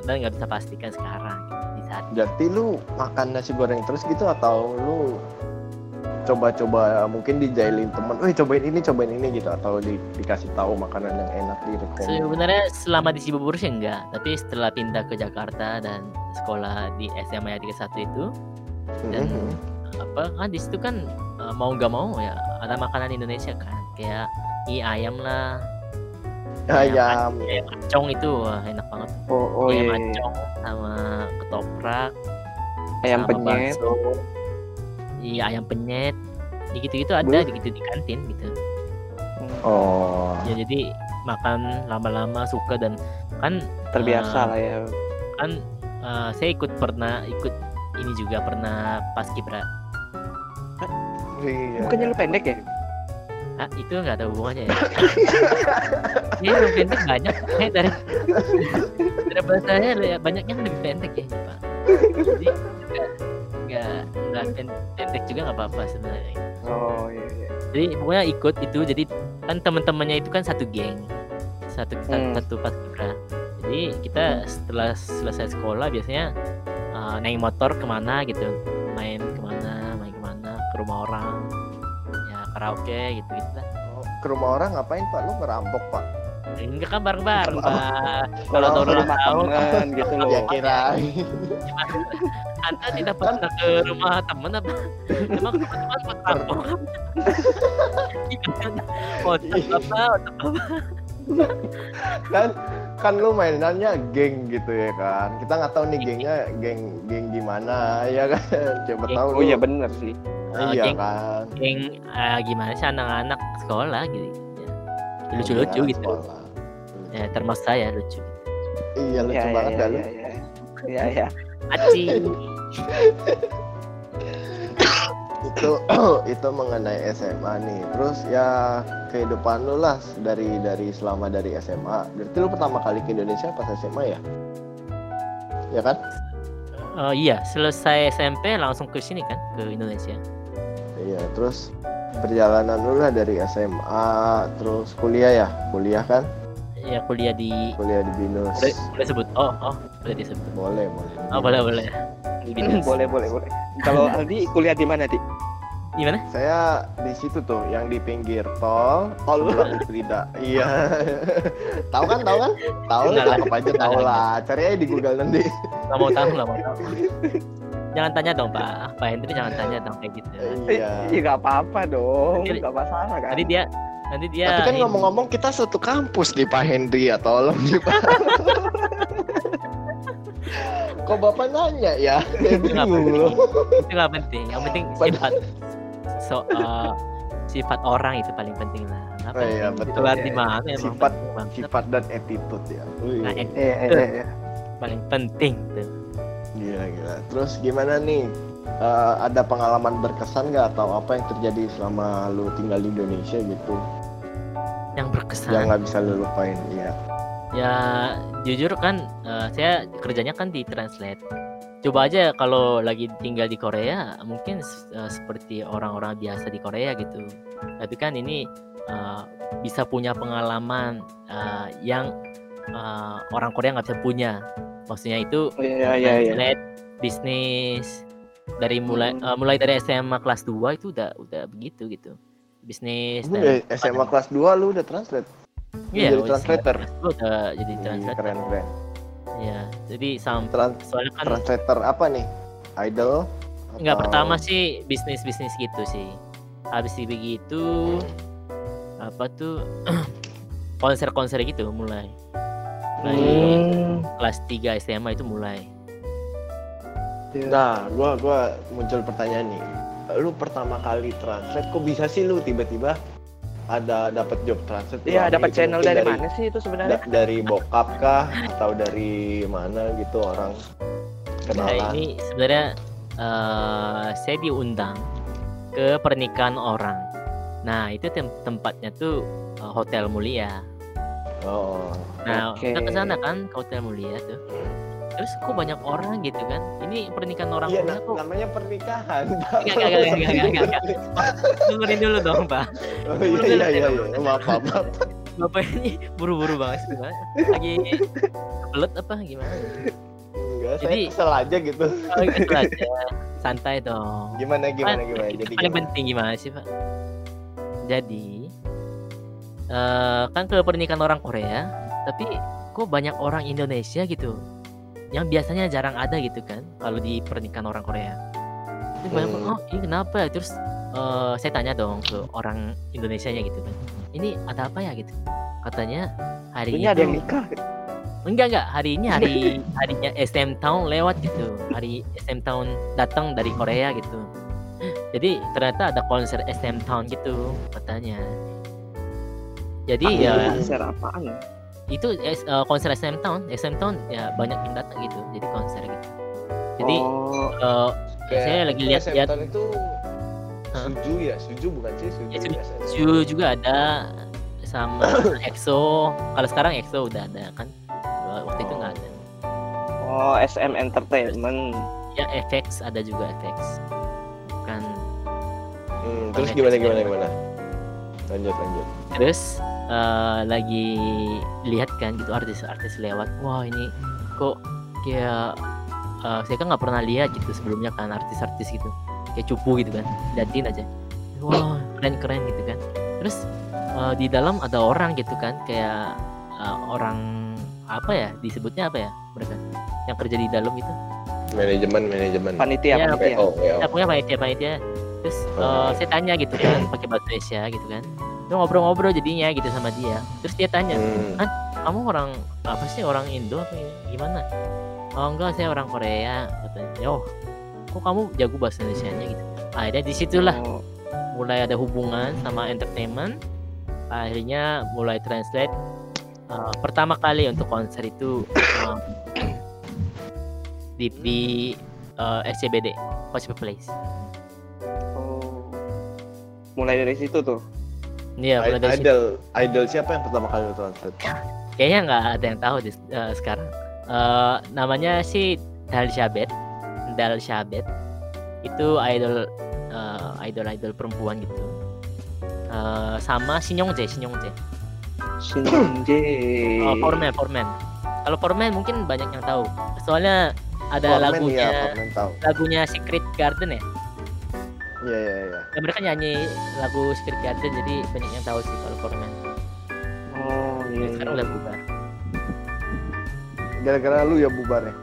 S3: dan nggak bisa pastikan sekarang gitu, di saat
S2: Berarti lu makan nasi goreng terus gitu atau lu coba-coba mungkin dijailin temen, eh cobain ini cobain ini gitu atau di- dikasih tahu makanan yang enak di
S3: Sebenarnya selama di Cibubur sih enggak, tapi setelah pindah ke Jakarta dan sekolah di SMA Yati ke-1 itu dan kan.
S2: Mm-hmm.
S1: Mhm.
S3: apa kan di situ kan eh, mau nggak mau ya ada makanan Indonesia kan kayak i ayam lah,
S2: ayam.
S3: ayam acong itu wah, enak banget.
S1: Oh Iya. oh
S3: ayam
S1: iya.
S3: acong sama ketoprak,
S1: Ayam
S3: sama
S1: penyet.
S3: bakso. Iya, ayam penyet. Ya, gitu-gitu ada gitu di kantin gitu.
S2: Oh.
S3: Ya jadi makan lama-lama suka dan kan
S1: Terbiasa
S3: Ah.
S1: lah ya.
S3: kan eh, saya ikut pernah ikut ini juga pernah paskibra
S2: Iya.
S1: Bukannya lu pendek ya?
S3: ah, itu nggak ada hubungannya ya ya lebih pendek banyak eh, dari daripada saya le- banyak yang lebih pendek ya pak jadi nggak- nggak nggak pen- pendek juga nggak apa-apa sebenarnya
S1: Oh iya iya.
S3: jadi pokoknya ikut itu jadi kan teman-temannya itu kan satu geng satu
S1: Hmm.
S3: satu paskibra jadi kita setelah selesai sekolah biasanya uh, naik motor kemana gitu main kemana main kemana ke rumah orang ya karaoke gitu gitu lah
S2: Ke rumah orang ngapain pak? Lu ngerampok pak?
S3: enggak kan bareng bareng pak
S1: Kalau
S2: Oh,
S1: tahu
S2: udah
S1: rumah
S3: tahu.
S1: temen gitu loh.
S2: Ya kira.
S3: anda
S1: Kan?
S3: tidak pernah ke rumah temen apa emang teman-teman buat rampok Gimana? otak apa otak apa
S2: kan kan lu mainannya geng gitu ya kan kita nggak tahu nih gengnya geng geng gimana ya kan coba
S3: Geng-
S2: tahu
S1: Oh
S2: lu-
S1: iya bener sih.
S3: Oh,
S2: iya
S3: geng.
S2: kan
S3: yang eh, gimana sih anak-anak sekolah gitu ya. lucu-lucu
S1: Iya,
S3: gitu
S2: Anak Iya, sekolah.
S3: ya, termasuk saya lucu
S2: iya lucu
S1: Iya,
S2: banget
S1: iya,
S2: dah lu
S1: iya, iya. Iya iya.
S3: aci
S2: itu itu mengenai SMA nih terus ya kehidupan lu lah dari dari selama dari SMA berarti lu pertama kali ke Indonesia pas SMA ya ya kan
S3: Oh iya, selesai SMP langsung ke sini kan, ke Indonesia.
S2: iya terus perjalanan lu lah dari SMA terus kuliah ya kuliah kan
S3: Ya kuliah di
S2: kuliah di Binus
S3: boleh, boleh sebut. Oh, oh, boleh disebut.
S2: boleh boleh
S3: Oh, boleh, boleh. Binus.
S1: Hmm, boleh boleh boleh. Kalau Aldi kuliah di mana, Di?
S3: Gimana?
S2: saya di situ tuh yang di pinggir tol
S1: Oh, lu-
S2: sebelah Utrida iya tahu kan tahu kan tahu
S3: Enggak
S2: lah
S3: lah.
S2: apa aja tahu lah cari aja di Google nanti
S3: Gak mau tahu, gak mau tahu. Jangan tanya dong Pak, Pak Hendri jangan tanya dong kayak gitu.
S1: Iya,
S2: Iya.
S1: nggak apa-apa dong,
S3: Jadi-
S1: nggak masalah kan.
S3: Nanti dia, nanti dia.
S2: Tapi kan
S3: ini-
S2: ngomong-ngomong kita satu kampus nih Pak Hendri ya, tolong nih Pak. Kok Bapak nanya ya? Saya
S3: Nggak
S2: bingung loh.
S3: penting. itu nggak penting yang penting
S2: Padahal-
S3: sifat so eh, sifat orang itu paling penting lah Nggak
S2: Oh iya,
S3: penting
S2: betul,
S3: keluar
S2: iya,
S3: di
S2: iya.
S3: mana emang
S2: Sifat-
S3: penting banget.
S2: Sifat dan attitude ya. Wih,
S3: Nah, itu
S1: Iya, iya, iya.
S3: paling penting tuh
S2: gila gila. Terus gimana nih? Eh, ada pengalaman berkesan nggak atau apa yang terjadi selama lu tinggal di Indonesia gitu
S3: yang berkesan
S2: yang nggak bisa lu lupain ya
S3: ya jujur kan eh, saya kerjanya kan di translate coba aja kalau lagi tinggal di Korea mungkin s- eh, seperti orang-orang biasa di Korea gitu tapi kan ini eh, bisa punya pengalaman eh, yang eh, orang Korea nggak bisa punya maksudnya itu
S1: Iya, iya, iya.
S3: Internet, bisnis dari mulai
S1: Hmm.
S3: eh, mulai dari SMA kelas 2 itu udah udah begitu gitu. Bisnis
S2: Lu udah SMA kelas 2 lu udah translate
S3: Iya,
S2: jadi
S3: udah
S2: translator.
S3: SMA kelas dua udah jadi
S2: Wih,
S3: translator.
S2: keren keren
S3: Iya. Jadi sam
S2: Tran-
S3: soalnya kan
S2: translator apa nih idol
S3: nggak
S2: Atau-
S3: pertama
S1: Oh.
S3: sih bisnis-bisnis gitu sih. Habis itu begitu apa tuh konser-konser gitu mulai. Mulai
S1: Hmm,
S3: kelas 3 SMA itu mulai.
S2: Nah, gua gua muncul pertanyaan nih. Lu pertama kali translate kok bisa sih lu tiba-tiba ada dapat job translate?
S1: Iya,
S2: Wah,
S1: dapat
S2: itu
S1: channel
S2: mungkin
S1: dari mana sih itu sebenarnya?
S2: da- dari bokap kah atau dari mana gitu orang
S3: Nah,
S2: kenalan?
S3: ini sebenarnya eh, saya diundang ke pernikahan orang. Nah, itu tem- tempatnya tuh eh, Hotel Mulia.
S2: Oh.
S3: Nah,
S1: Oke.
S3: kita ke sana kan ke Hotel Mulia tuh. Terus kok banyak orang gitu kan? Ini pernikahan orang
S2: Iya,
S3: Korea
S1: nah,
S2: na-
S3: kok.
S2: namanya pernikahan.
S3: Enggak, enggak, enggak, enggak, enggak, enggak, enggak. Dengerin dulu dong, Pak.
S2: Oh, iya, iya, iya, iya. Maaf, maaf. maaf.
S3: Bapak ini buru-buru banget sih, Pak. Lagi kebelet apa gimana?
S2: Enggak, saya
S3: Jadi-
S2: kesel aja gitu.
S3: Oh, gitu aja. Santai dong.
S2: Gimana gimana gimana.
S3: Itu
S2: Jadi
S3: paling
S2: gimana?
S3: penting gimana sih pak jadi eh kan ke pernikahan orang Korea tapi kok banyak orang Indonesia gitu yang biasanya jarang ada gitu kan kalau di pernikahan orang Korea Terus banyak
S2: Hmm.
S3: orang, oh ini kenapa terus eh, saya tanya dong ke orang Indonesia nya gitu kan ini ada apa ya gitu katanya hari
S1: Ini
S3: itu-
S1: ada yang nikah.
S3: enggak enggak hari ini hari harinya SM Town lewat gitu hari SM Town datang dari Korea gitu jadi ternyata ada konser SM Town gitu katanya jadi
S1: Ah,
S3: ya
S1: konser apaan?
S3: itu es- eh, konser SM Town SM Town ya banyak yang datang gitu jadi konser gitu jadi
S1: oh,
S3: eh, saya lagi
S2: Itu
S3: lihat-lihat
S2: Septon itu
S3: Hah?
S2: Suju ya, Suju bukan sih Suju.
S3: Ya, Suju.
S2: ya, Septon.
S3: Ju juga ada sama EXO kalau sekarang EXO udah ada kan waktu itu nggak ada
S1: oh, SM Entertainment.
S3: ya FX ada juga FX kan
S2: Hmm, terus gimana gimana gimana? Lanjut lanjut.
S3: terus eh, lagi lihat kan gitu artis-artis lewat wah ini kok kayak eh, saya kan nggak pernah lihat gitu sebelumnya kan artis-artis gitu kayak cupu gitu kan datin aja wah keren-keren gitu kan terus eh, di dalam ada orang gitu kan kayak eh, orang apa ya disebutnya apa ya mereka yang kerja di dalam itu
S2: Manajemen manajemen.
S1: Panitia,
S3: Ya,
S1: panitia.
S2: PO PO.
S3: ya punya panitia panitia terus
S2: Oh.
S3: eh, saya tanya gitu kan pakai bahasa Indonesia gitu kan Terus ngobrol-ngobrol jadinya gitu sama dia terus dia tanya
S2: Hmm.
S3: kamu orang apa sih orang Indo apa ini? gimana oh enggak saya orang Korea katanya oh kok kamu jago bahasa Indonesia nya gitu akhirnya disitulah
S1: Oh,
S3: mulai ada hubungan sama entertainment akhirnya mulai translate Uh, pertama kali untuk konser itu um, di, di uh, SCBD Hospital Place
S1: oh. Mulai dari situ tuh.
S3: Iya, mulai dari situ.
S2: Idol idol siapa yang pertama kali lu translate?
S3: Kayaknya nggak ada yang tahu di, eh, sekarang. Eh, namanya sih Dal Syabet. Dal Syabet. Itu idol idol idol perempuan gitu. Eh, sama Sinyongje, Sinyongje.
S1: Shinje.
S3: Oh,
S1: Hmm.
S3: Foreman, Foreman. Kalau Foreman mungkin banyak yang tahu. Soalnya ada
S2: Forman
S3: lagunya
S2: ya, Forman tahu.
S3: lagunya Secret Garden ya.
S2: Iya iya iya.
S3: Ya, mereka nyanyi lagu Secret Garden jadi banyak yang tahu sih kalau Foreman.
S1: Oh, iya.
S3: Sekarang udah bubar.
S2: Gara-gara lu ya bubarnya.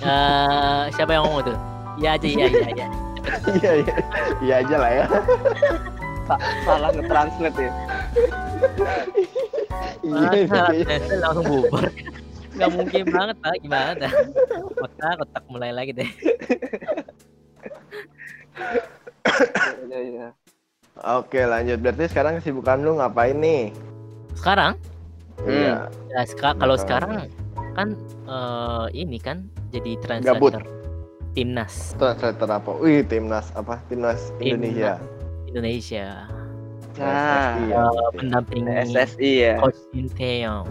S3: Eh, siapa yang ngomong tuh? Iya aja iya iya iya.
S2: Iya iya. Iya aja lah ya.
S1: Sa- salah nge-translate ya
S2: Iya
S3: Masa
S2: iya.
S3: Tesla langsung bubar. Gak mungkin banget pak, gimana dah? Otak otak mulai lagi deh.
S1: Iya, iya.
S2: Oke lanjut. Berarti sekarang kesibukan lu ngapain nih?
S3: Sekarang,
S1: Hmm.
S2: Iya.
S3: ya, seka- kalau
S2: Nah.
S3: sekarang kan eh, ini kan jadi
S2: Gabut.
S3: translator timnas
S2: Translator apa? Wih timnas apa? Timnas Indonesia.
S3: Indonesia.
S1: Nah,
S2: Iya.
S3: ah, Pendamping
S1: SSI ya
S3: coach Sinteyong.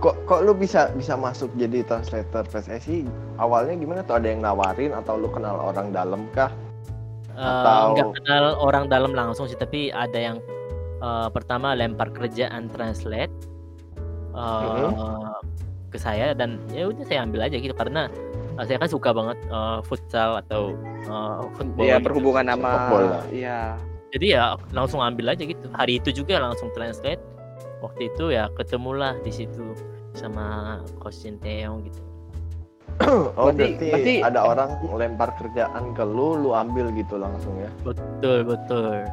S2: Kok kok lu bisa bisa masuk jadi translator PSSI? Awalnya gimana tuh ada yang nawarin atau lu kenal orang dalam kah? Atau-
S3: nggak kenal orang dalam langsung sih tapi ada yang eh, pertama lempar kerjaan translate eh, ke saya dan ya udah saya ambil aja gitu karena eh, saya kan suka banget eh, futsal atau eh, football
S1: Iya
S3: gitu.
S1: berhubungan sama
S2: Sepak bola.
S1: Iya
S3: jadi ya langsung ambil aja gitu hari itu juga langsung translate waktu itu ya ketemulah di situ sama coach Sinteyong gitu
S2: Oh
S1: Berarti-
S2: berarti,
S1: berarti-
S2: ada orang lempar kerjaan ke lu, lu ambil gitu langsung ya?
S3: Betul betul.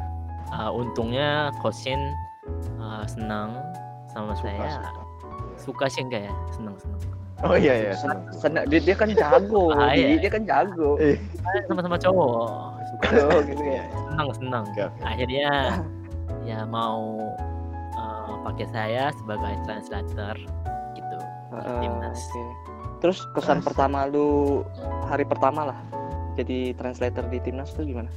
S3: Ah, untungnya Kosin ah, senang sama saya. Suka sih enggak ya? Senang senang.
S2: Oh iya iya.
S1: Sen- sen- dia, dia kan jago
S3: Bahaya.
S1: dia, dia kan jago
S2: Eh,
S3: Ah, Sama-sama cowok. Suka
S1: Oh, gitu ya.
S3: senang senang.
S2: Oke, oke.
S3: Akhirnya ya mau ah, pakai saya sebagai translator gitu.
S1: Heeh, Ah,
S3: Timnas.
S1: oke. Terus kesan
S2: Terus.
S1: pertama lu hari pertama lah jadi translator di timnas tuh gimana?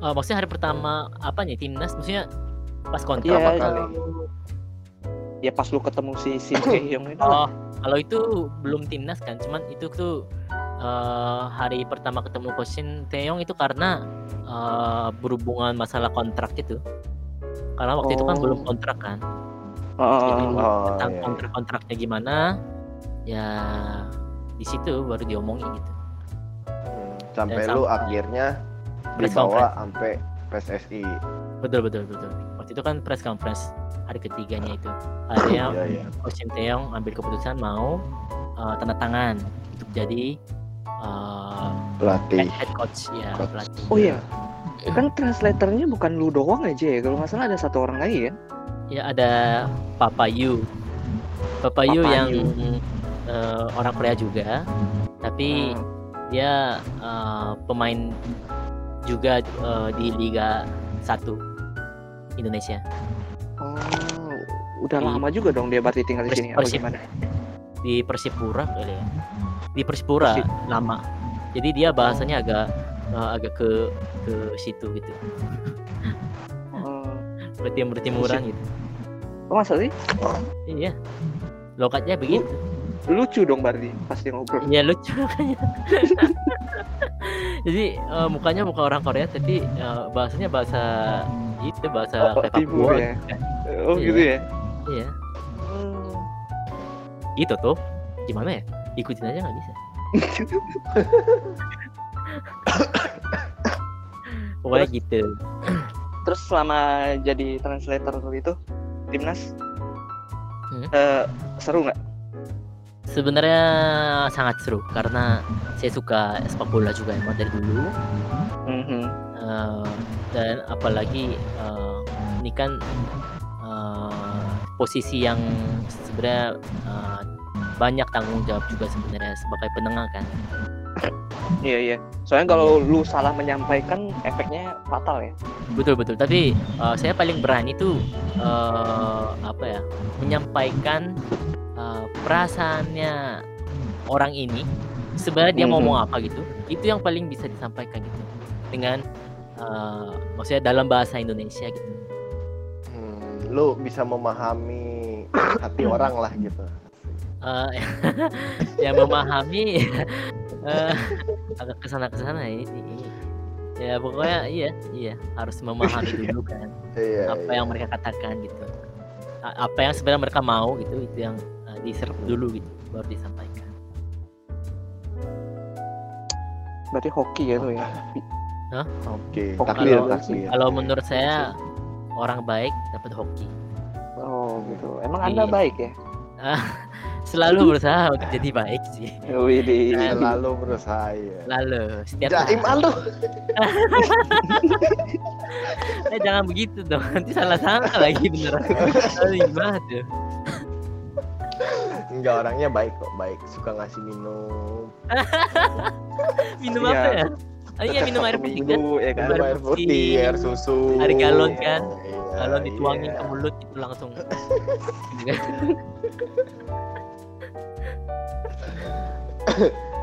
S3: Ah, maksudnya hari pertama apa nih timnas? Maksudnya pas
S2: Iya,
S3: kontrak
S2: Pertama
S1: Iya,
S2: kali.
S1: ya pas lu ketemu si Shin Tae-yong itu.
S3: Oh, kalau itu belum timnas kan, cuman itu tuh eh, hari pertama ketemu Kosin Taeyong itu karena eh, berhubungan masalah kontrak gitu. Karena waktu itu kan
S1: Oh.
S3: belum kontrak kan,
S1: Heeh.
S3: Jadi-
S2: Oh,
S3: tentang
S2: iya, iya.
S3: kontrak-kontraknya gimana, ya di situ baru diomongin gitu.
S2: Hmm, sampai
S3: Dan
S2: lu
S3: sampai- kan?
S2: akhirnya
S3: Press
S2: dibawa sampai PSSI.
S3: Betul betul betul. Waktu itu kan press conference hari ketiganya itu. Akhirnya
S2: Iya iya.
S3: Coach Sinteyong ambil keputusan mau eh, tanda tangan untuk jadi eh,
S2: Pelatih.
S3: head coach ya
S2: Coach.
S3: pelatih.
S1: Oh iya. Kan translatornya bukan lu doang aja ya. Kalau nggak salah ada satu orang lagi ya.
S3: Ya ada Papa Yu. Papa Yu
S1: Papa
S3: yang
S1: Yu.
S3: eh, orang Korea juga, tapi
S1: Hmm.
S3: dia eh, pemain juga eh, di Liga 1 Indonesia.
S1: Oh, udah
S3: Di-
S1: lama juga dong dia berarti tinggal di
S3: Persi-
S1: sini. Apa
S3: Iya. Persib.
S1: gimana?
S3: Di Persipura kali ya. Di Persipura
S1: Persib.
S3: lama. Jadi dia bahasanya agak eh, agak ke ke situ gitu.
S1: Oh,
S3: Bertimur timuran gitu.
S1: oh, masa sih?
S3: Iya. Lokatnya begitu.
S1: Lucu dong berarti pasti ngobrol.
S3: Iya lucu makanya. Jadi eh, mukanya muka orang Korea tapi eh, bahasanya bahasa itu bahasa
S1: Oh,
S3: kayak
S1: timur
S3: Papua
S1: ya.
S3: gitu kan.
S1: Oh
S3: Iya.
S1: gitu ya.
S3: Iya.
S1: Hmm.
S3: Gitu tuh. Gimana ya? Ikutin aja nggak bisa. Pokoknya
S1: Terus-
S3: gitu.
S1: Terus selama jadi translator itu timnas
S3: Hmm.
S1: eh, seru nggak?
S3: Sebenarnya sangat seru karena saya suka sepak bola juga emang dari dulu.
S1: Mhm.
S3: Eh, dan apalagi eh, ini kan eh, posisi yang sebenarnya eh, banyak tanggung jawab juga sebenarnya sebagai penengah kan
S1: Iya iya. Soalnya kalau lu salah menyampaikan efeknya fatal ya.
S3: betul betul tapi eh, saya paling berani tuh eh, apa ya menyampaikan eh, perasaannya orang ini sebenarnya dia
S1: Mhm.
S3: ngomong apa gitu itu yang paling bisa disampaikan gitu dengan eh, maksudnya dalam bahasa Indonesia gitu
S2: Hmm, lu bisa memahami hati orang lah gitu.
S3: eh yang memahami eh, agak kesana kesana ini, ini. ya pokoknya iya iya harus memahami dulu kan
S2: Iya.
S3: apa
S2: iya.
S3: yang mereka katakan gitu A- apa yang sebenarnya mereka mau gitu itu yang eh, diserap dulu gitu baru disampaikan
S1: Berarti hoki ya tuh ya.
S2: Oke.
S1: Oh,
S2: Takdir,
S3: kalau-
S2: takdir.
S3: kalau menurut saya orang baik dapat hoki
S1: Oh gitu. Emang anda
S3: Iya.
S1: baik ya?
S3: selalu berusaha untuk jadi baik sih.
S1: Iya. Oh, Widih.
S3: eh,
S2: Selalu berusaha ya.
S3: Lalu setiap
S2: Jaim ah lu.
S3: Eh, jangan begitu dong, nanti salah-salah lagi beneran. Aduh, gimana tuh?
S2: Enggak orangnya baik kok, baik. Suka ngasih minum.
S3: Minum
S1: Iya.
S3: apa ya? Oh iya minum air
S1: Satu
S3: putih kan?
S1: minggu, ya kan?
S3: Air
S2: Minum air putih,
S3: putih.
S2: air susu.
S3: Air galon kan?
S2: Iya,
S3: Kalau dituangin
S2: iya.
S3: ke mulut itu langsung. Gitu kan?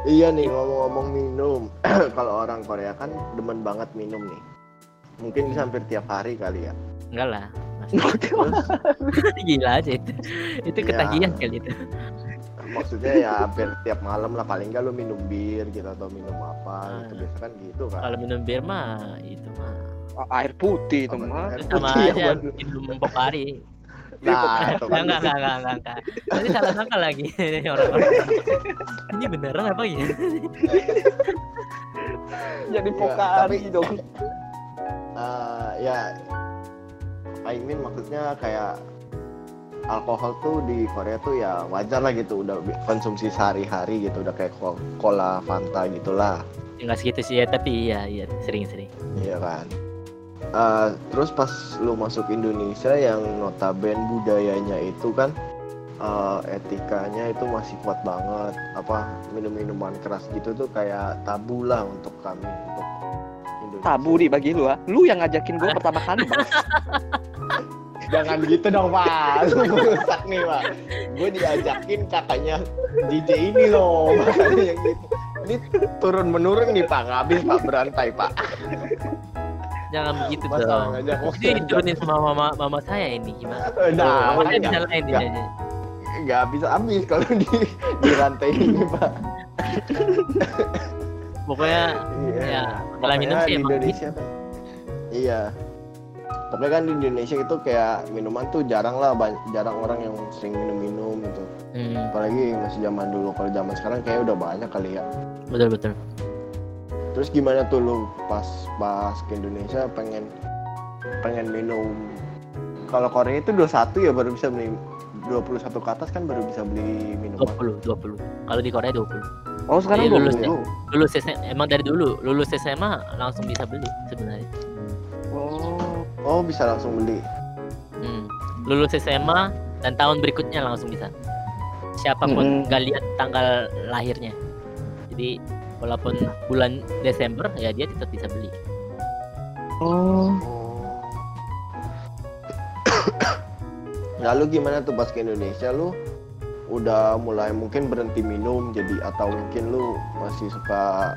S2: Iya nih ngomong-ngomong minum. Kalau orang Korea kan demen banget minum nih. Mungkin bisa hampir tiap hari kali ya.
S3: Enggak lah.
S2: Terus
S3: Gila aja itu. Itu
S2: Iya.
S3: ketagihan kali itu.
S2: maksudnya ya hampir tiap malam lah paling enggak lu minum bir gitu atau minum apa gitu. Biasa kan gitu kan.
S3: Ah. Kalau minum bir mah itu mah
S1: A- Oh, Air putih itu
S2: Apa
S1: mah.
S2: namanya?
S3: itu sama
S2: Putih ya, yang
S3: aja
S2: buat-
S3: minum Pocari.
S2: Nah,
S3: Enggak
S2: itu kan.
S3: enggak enggak enggak enggak, enggak. Nanti salah sangka lagi orang-orang. Ini beneran apa ya?
S1: Jadi
S2: Iya,
S1: pokari
S2: tapi-
S1: dong.
S2: Eh, ya I mean maksudnya kayak alkohol tuh di Korea tuh ya wajar lah gitu udah bi- konsumsi sehari-hari gitu udah kayak ko- cola fanta gitu gitulah
S3: Enggak segitu sih ya, tapi iya iya sering-sering.
S2: iya kan Eh, terus pas lu masuk Indonesia yang notaben budayanya itu kan eh, etikanya itu masih kuat banget apa minum-minuman keras gitu tuh kayak tabu lah untuk kami untuk Indonesia
S1: Tabu nih bagi lu ah. Lu yang ngajakin gua pertama kali, Bang.
S2: Jangan gitu dong pak, lu merusak nih pak. Gue diajakin katanya DJ ini loh, makanya yang gitu. Ini turun menurun nih pak, nggak habis pak berantai pak.
S3: Jangan begitu
S2: Masa
S3: dong.
S2: ngajak
S3: Ini diturunin sama mama mama saya ini gimana?
S2: Nah,
S3: Mama saya
S2: makanya
S3: bisa lain
S2: Enggak.
S3: ini.
S2: nggak habis habis kalau di di rantai ini pak.
S3: Pokoknya
S2: Iya.
S3: Ya,
S2: Makanya
S3: kalau minum sih emang
S2: di
S3: gitu.
S2: Indonesia kan. Iya. Pokoknya kan di Indonesia itu kayak minuman tuh jarang lah, ban- jarang orang yang sering minum-minum gitu.
S3: hmm,
S2: Apalagi masih zaman dulu, kalau zaman sekarang kayak udah banyak kali ya.
S3: betul betul.
S2: Terus gimana tuh lu pas pas ke Indonesia pengen pengen minum kalau Korea itu 21 ya baru bisa beli 21 ke atas kan baru bisa beli minuman.
S3: 20 20. Kalau di Korea 20.
S1: Oh, sekarang
S3: Iya,
S1: gua
S3: Oh, lulus
S1: belum.
S3: Lulus SMA eh, emang dari dulu lulus SMA langsung bisa beli sebenarnya.
S1: Oh,
S2: Oh, bisa langsung beli.
S3: Hmm. Lulus SMA dan tahun berikutnya langsung bisa. Siapapun
S1: Mm-mm.
S3: nggak lihat tanggal lahirnya. Jadi walaupun bulan Desember ya dia tetap bisa beli.
S1: oh.
S2: Lalu gimana tuh pas ke Indonesia lu udah mulai mungkin berhenti minum jadi atau mungkin lu masih suka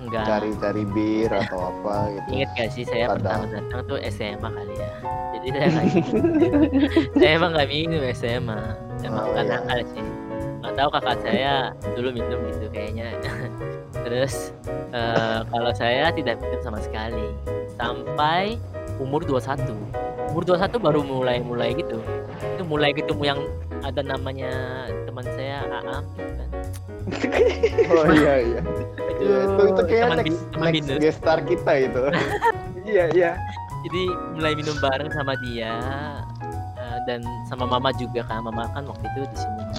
S3: Nah. Enggak.
S2: cari-cari bir atau apa gitu.
S3: Ingat gak sih saya
S2: Ada.
S3: pertama datang tuh SMA kali ya. Jadi saya nggak saya emang nggak minum SMA. Emang
S2: Oh,
S3: bukan
S2: iya.
S3: nakal sih. Nggak tahu kakak saya dulu minum gitu kayaknya. Terus eh, kalau saya tidak minum sama sekali sampai umur 21. Umur 21 baru mulai-mulai gitu. Itu mulai ketemu yang ada namanya teman saya Aam gitu kan.
S2: Oh iya iya. Iya, itu itu kayak
S3: teman
S2: next,
S3: bis- teman
S2: next
S3: bisnis.
S2: guest star kita itu. Oh.
S1: Iya, iya.
S3: jadi mulai minum bareng sama dia eh, dan sama mama juga kan mama kan waktu itu di sini ya.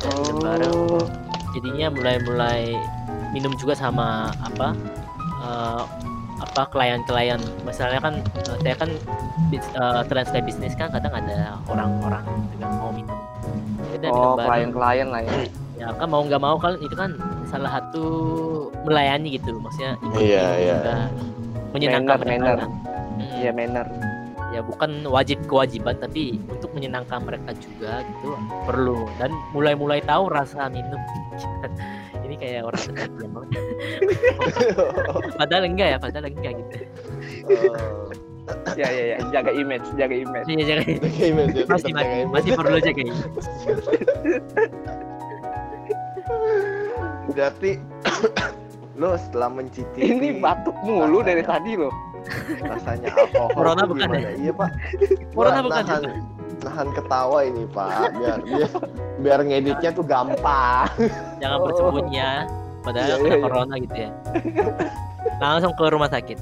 S3: Dan minum bareng
S1: Oh.
S3: jadinya mulai mulai minum juga sama apa eh, apa klien-klien misalnya kan eh, saya kan bis- eh, translate bisnis kan kadang ada orang-orang gitu kan mau minum Yaudah, minum
S1: Oh,
S3: bareng.
S1: klien-klien lah ya.
S3: ya kan mau nggak mau kan itu kan salah satu melayani gitu maksudnya ikut
S2: Iya,
S3: minum
S2: iya.
S3: juga.
S1: Manner,
S3: menyenangkan mereka
S1: manner.
S3: lah. Mm
S1: Iya, manner.
S3: ya bukan wajib kewajiban tapi untuk menyenangkan mereka juga gitu perlu dan mulai-mulai tahu rasa minum ini kayak orang ketagihan banget padahal enggak ya padahal enggak gitu
S1: Iya, iya, iya. Jaga image, jaga image.
S3: Iya, jangan
S2: Oke, Mas, ya,
S3: masih
S2: tetap
S3: masih,
S2: jagain.
S3: masih perlu aja kayak gitu.
S2: Berarti lo setelah mencicipi
S1: Ini batuk mulu dari tadi loh.
S2: rasanya alkohol.
S3: Corona
S2: tuh
S3: bukan ya?
S2: gimana? Iya, Pak.
S3: Corona
S2: Wah,
S3: bukan, ya?
S2: nahan, nahan ketawa ini, Pak. Biar biar, biar ngeditnya tuh gampang.
S3: jangan
S1: Oh.
S3: bersembunyi ya padahal
S2: Iya, iya,
S3: kena
S2: iya.
S3: corona gitu ya langsung ke rumah sakit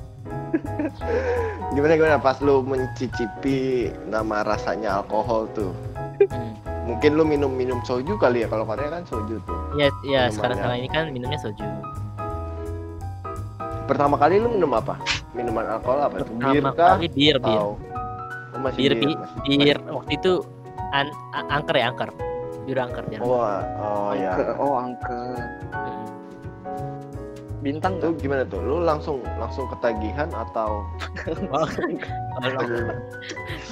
S2: Gimana gimana pas lo mencicipi nama rasanya alkohol tuh.
S3: Hmm.
S2: Mungkin lu minum-minum soju kali ya kalau Korea kan soju tuh.
S3: Iya, iya
S2: Minumannya.
S3: sekarang sekarang ini kan minumnya soju.
S2: Pertama kali lu minum apa? Minuman alkohol apa? Tuh? Bir
S3: Pertama
S2: kah?
S3: kali bir, bir.
S2: Atau Oh, masih
S3: Bir,
S2: bir,
S3: bi-
S2: masih
S3: Bir waktu itu an a- angker ya, angker. Bir angker ya.
S2: Oh, oh ya.
S1: Angker. Oh, angker.
S3: Mm.
S1: Bintang tuh.
S2: Itu gimana tuh? Lu langsung langsung ketagihan atau
S3: Kalau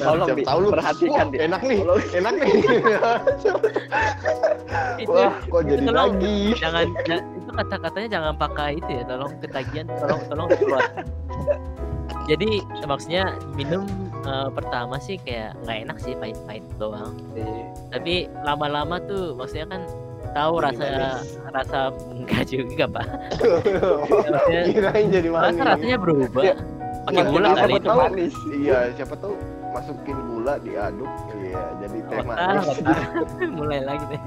S1: Tolong
S2: Siapa
S1: Bi,
S2: tahu lu
S1: perhatikan
S2: Wah,
S1: deh.
S2: Enak nih.
S1: Tolong.
S2: Enak nih.
S3: itu
S2: Wah, kok
S3: itu
S2: jadi
S3: tolong.
S2: lagi?
S3: jangan ja- itu kata-katanya jangan pakai itu ya tolong ketagihan tolong tolong keluar jadi maksudnya minum eh, pertama sih kayak nggak enak sih pahit-pahit doang tapi lama-lama tuh maksudnya kan tahu
S2: Jadi
S3: rasa
S2: manis.
S3: rasa enggak juga pak Maksudnya,
S2: Kirain jadi
S3: rasa
S2: manis.
S3: rasanya berubah
S2: Iya.
S1: Ya,
S3: pakai
S2: semakin
S3: gula gitu.
S2: lama
S3: kali
S2: makin
S3: itu
S2: tahu.
S1: manis.
S2: Iya, siapa tahu masukin gula diaduk iya jadi teh
S3: Nggak
S2: manis
S3: tahu, nggak tahu. Ah, mulai lagi deh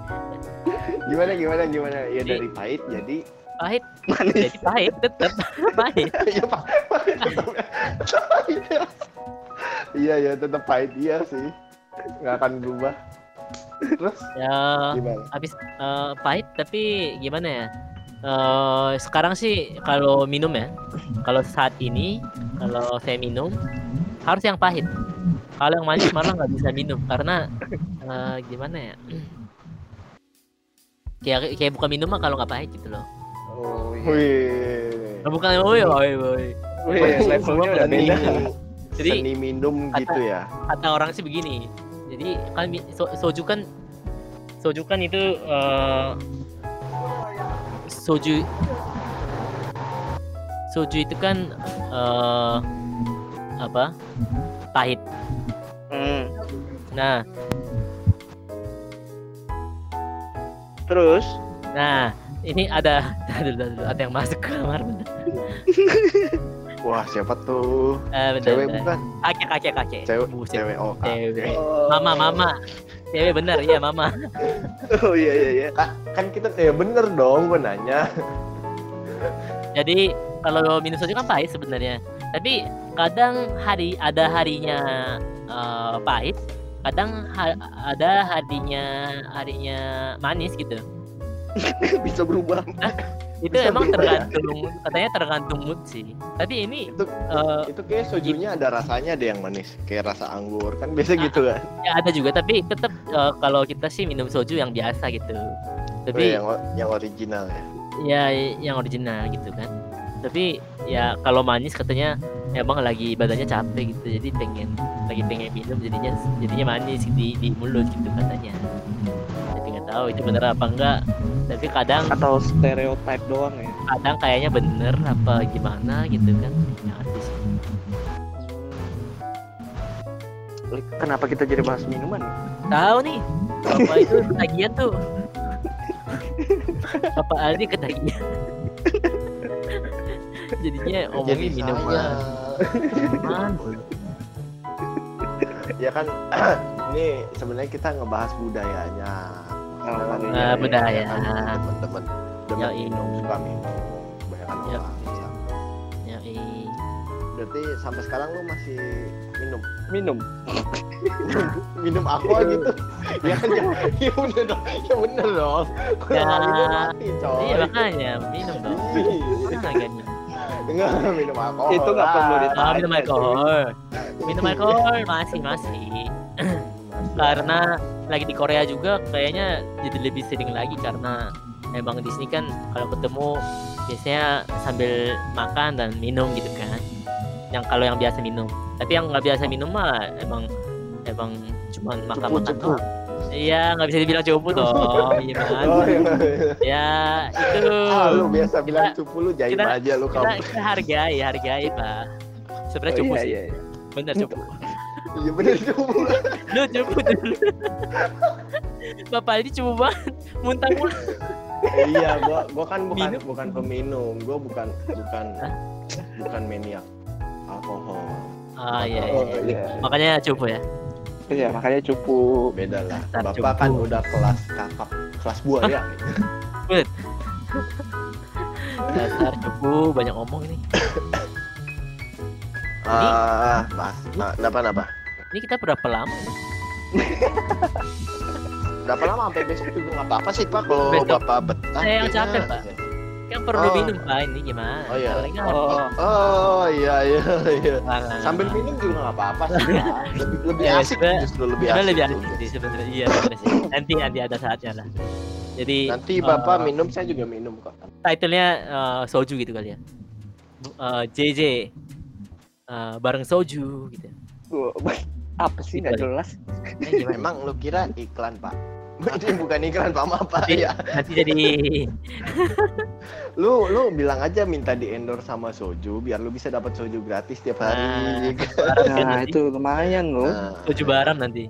S2: gimana gimana gimana ya
S3: Jadi-
S2: dari pahit jadi
S3: pahit
S1: Manis.
S3: jadi pahit tetap pahit
S2: ya pak pahit tetap tetap pahit ya. iya ya tetap pahit iya sih nggak akan berubah terus
S3: ya
S2: gimana
S3: habis eh, pahit tapi gimana ya Eh, sekarang sih kalau minum ya kalau saat ini kalau saya minum harus yang pahit kalau yang manis malah nggak bisa minum karena eh, gimana ya kayak kayak bukan minum mah kalau nggak pahit gitu loh
S1: Oh, iya.
S2: wih
S3: Nah, bukan woi woi woi
S1: Wih, levelnya udah
S2: seni,
S1: beda.
S3: Jadi,
S2: seni minum
S3: kata-
S2: gitu ya
S3: kata orang sih begini jadi kan mi- so, soju kan soju kan itu eh, soju soju itu kan eh, apa pahit
S1: Hmm.
S3: nah
S1: Terus
S3: nah ini ada aduh, aduh, aduh, ada yang masuk ke kamar Eh, bentar.
S2: wah siapa tuh
S3: Eh, bentar,
S2: cewek
S3: bentar.
S2: bukan
S3: kakek kakek kakek
S2: cewek
S3: Buset,
S2: cewek oh kak.
S3: cewek mama
S1: eh,
S3: mama cewek bener iya mama
S1: Oh iya iya iya.
S2: Kak, kan kita ya bener dong gue nanya
S3: Jadi kalau minum soju kan pahit sebenarnya. Tapi kadang hari ada harinya eh, pahit, kadang ha- ada harinya harinya manis gitu.
S2: bisa berubah
S3: Itu
S2: Bisa
S3: emang
S2: berubah ya?
S3: tergantung katanya tergantung mood sih. Tapi ini
S2: Itu-
S3: eh,
S2: itu kayak sojunya ada rasanya deh yang manis kayak rasa anggur kan biasa gitu kan
S3: ya ada juga tapi tetap eh, kalau kita sih minum soju yang biasa gitu. Tapi
S2: Tapi yang o- yang original ya
S3: ya yang original gitu kan tapi ya kalau manis katanya emang lagi badannya capek gitu jadi pengen lagi pengen minum jadinya jadinya manis di di mulut gitu katanya tapi nggak tahu itu bener apa enggak tapi kadang
S1: Atau stereotype doang ya.
S3: kadang kayaknya bener apa gimana gitu kan nggak ngerti sih.
S1: Kenapa kita jadi bahas minuman?
S3: tahu nih apa itu ketagihan tuh apa Aldi ketagihan jadinya omongin minuman minuman mulu.
S2: ya kan ini sebenarnya kita ngebahas budayanya
S1: Nah,
S2: Iya, iya,
S3: budaya.
S2: iya, kan, teman-teman demen
S3: Yoi.
S2: minum suka minum kebanyakan
S3: Yoi.
S2: orang sama.
S3: Yoi.
S2: berarti sampai sekarang lu masih minum
S1: Minum.
S2: minum aqua gitu ya kan ya, ya bener dong ya bener dong
S3: Ya.
S2: Kalau minum mati coy
S3: Iya makanya minum dong.
S2: Ih,
S3: Mana nggak minum?
S2: enggak minum alkohol
S1: Itu nggak perlu
S2: lah.
S1: ditanya,
S3: Ah, minum alkohol. Minum alkohol masih masih. Karena lagi di Korea juga kayaknya jadi lebih sering lagi karena emang di sini kan kalau ketemu biasanya sambil makan dan minum gitu kan. Yang kalau yang biasa minum. Tapi yang nggak biasa minum mah emang emang cuman makan-makan
S1: Cupu-cupu.
S3: doang. Iya, nggak bisa dibilang cupu dong. Gimana?
S2: Oh, iya, iya.
S3: Ya, itu.
S2: Ah, lu biasa bilang cupu lu jaim
S3: kita-
S2: aja lu
S3: kita,
S2: kamu.
S3: kita hargai hargai pak sebenarnya cupu
S1: Oh, iya,
S3: sih
S1: iya, iya.
S3: bener cupu
S2: Iya bener cupu.
S3: lu cupu dulu bapak ini cupu banget muntah mulu
S2: iya, gua gua kan bukan
S3: Minum.
S2: bukan peminum, gua bukan bukan bukan maniak alkohol.
S3: ah iya, iya.
S2: Oh, iya.
S3: makanya cupu ya
S1: Iya, makanya cupu.
S2: Beda lah.
S3: Dasar cupu.
S2: Bapak kan udah kelas kakap, kelas buaya.
S3: dasar cupu banyak omong ini
S2: Ah, pas. Nah, kenapa napa?
S3: ini kita berapa lama ini?
S2: berapa lama sampai besok juga nggak apa-apa sih pak kalau
S3: Besok.
S2: bapak betah.
S3: Saya yang
S2: kayaknya.
S3: capek, Pak. Kan perlu
S2: Oh.
S3: minum Pak ini gimana?
S2: Oh, iya.
S3: Paling kan
S1: Oh.
S2: Oh, oh iya iya iya.
S3: Alah.
S2: Sambil minum juga nggak apa-apa sih. Pak. Lebih lebih
S3: Ya,
S2: asik
S3: Ah. sebenarnya-
S2: justru lebih
S3: Sebenarnya
S2: asik.
S3: lebih
S2: tuh.
S3: asik sih sebenarnya. Iya, bener sih. Nanti nanti ada saatnya lah. Jadi
S2: Nanti
S3: eh,
S2: bapak minum saya juga minum kok.
S3: titlenya eh, soju gitu kali ya. Bu- eh, JJ eh, bareng soju gitu.
S1: Oh, apa sih nggak jelas
S3: Eh, gimana?
S2: Ya, Memang lu kira iklan pak? Ini bukan iklan pak maaf pak.
S3: Iya.
S2: Iya.
S3: Nanti jadi
S2: Lu lu bilang aja minta di endorse sama soju biar lu bisa dapat soju gratis tiap
S3: Nah.
S2: hari. gitu.
S3: barang kan
S1: nah
S3: nanti.
S1: itu lumayan loh
S2: Nah,
S3: soju barang nanti.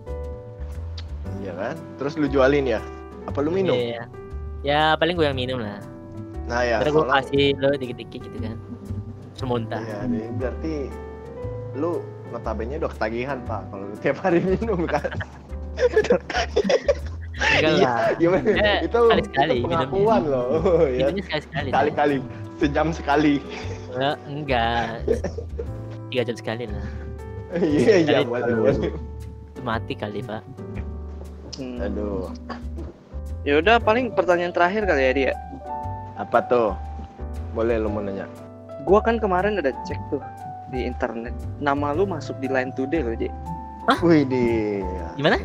S2: Iya kan? Terus lu jualin ya? Apa lu minum?
S3: Iya. Ya paling gue yang minum lah.
S2: Nah ya.
S3: Terus gue
S2: soalnya-
S3: kasih lo dikit-dikit gitu kan. Semuntah.
S2: Iya, jadi
S3: hmm.
S2: berarti lu notabene udah ketagihan pak kalau lu tiap hari minum kan?
S3: Enggak
S2: Iya,
S3: lah.
S2: Gimana?
S3: Eh,
S2: itu,
S3: sekali-sekali
S2: itu
S3: minumnya.
S2: pengakuan loh.
S3: Iya,
S2: ya.
S3: Minumnya sekali-sekali. lah.
S2: Kali-kali sejam sekali.
S3: Eh, enggak. Tiga jam sekali lah.
S2: Iya iya
S3: Sekali
S2: boleh
S3: dulu.
S2: boleh.
S3: Itu mati kali pak.
S1: hmm.
S2: Aduh,
S1: ya udah paling pertanyaan terakhir kali ya dia
S2: apa tuh? Boleh lu mau nanya?
S1: gua kan kemarin ada cek tuh di internet nama lu masuk di line today loh J
S2: Wih di.
S3: Gimana?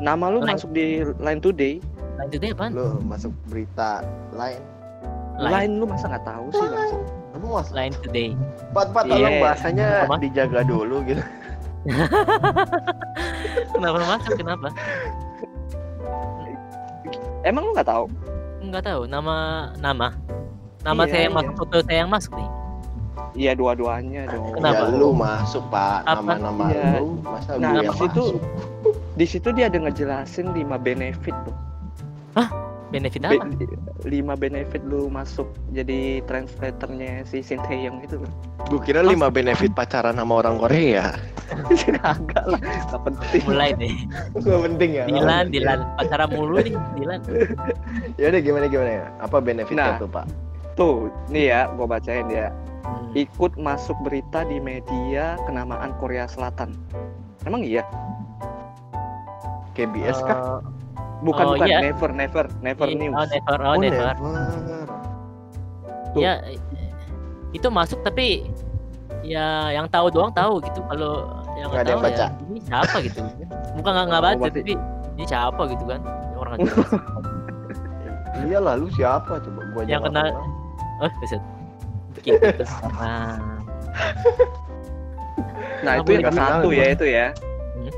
S1: nama lu
S3: Line-
S1: masuk di line today
S3: Lanjutnya apa?
S2: Lu masuk berita lain.
S3: Line,
S1: line lu masa nggak tahu sih langsung
S2: Kamu masuk.
S3: line today.
S2: Pat pat tolong
S1: Iya.
S2: bahasanya
S3: Apa?
S2: dijaga dulu gitu.
S3: Kenapa masuk? Kenapa?
S1: emang lu nggak tahu
S3: Enggak tahu. Nama nama nama
S1: Iya,
S3: saya yang
S1: iya.
S3: masuk foto saya yang masuk nih.
S1: iya dua-duanya dong
S3: Kenapa?
S2: Ya, lu masuk pak.
S3: Apa?
S2: Nama-nama
S1: Iya.
S2: lu masa
S1: Nah,
S2: gue yang
S1: abis itu-
S2: masuk?
S1: di situ dia ada ngejelasin 5 benefit tuh
S3: Benefit
S1: Be-
S3: apa?
S1: 5 benefit lu masuk jadi translatornya si Sinteyong itu loh
S2: Gue kira lima benefit pacaran sama orang Korea.
S1: agak lah nggak penting
S3: Mulai deh.
S2: Gak penting ya.
S3: Dilan, Dilan. Pacara mulu nih, Dilan.
S2: Ya udah gimana gimana ya? Apa benefitnya
S1: Nah.
S2: tuh pak?
S1: tuh nih ya gua bacain ya
S3: Hmm.
S1: ikut masuk berita di media kenamaan Korea Selatan emang iya
S2: KBS kah?
S3: Eh,
S1: bukan
S3: Oh,
S1: bukan
S3: iya.
S1: never never never
S3: iya,
S1: news
S3: Oh, never, oh, never.
S2: never.
S1: Tuh.
S3: Ya eh, itu masuk tapi ya yang tahu doang tahu gitu. Kalau yang
S2: Nggak
S3: nggak
S2: ada yang
S3: tahu
S2: baca.
S3: ya ini siapa gitu. Bukan nggak nggak
S1: Oh,
S3: baca
S1: berarti-
S3: tapi ini siapa gitu kan. Orang nggak jelas.
S2: Iya lah lu siapa coba gua aja
S3: Yang
S2: nggak
S3: kena-
S2: kenal.
S3: Oh, buset. Gitu. Nah,
S1: Nah
S3: Aku
S1: itu yang
S2: nggak kenal
S1: satu
S2: gua.
S1: ya itu ya.
S3: Hmm.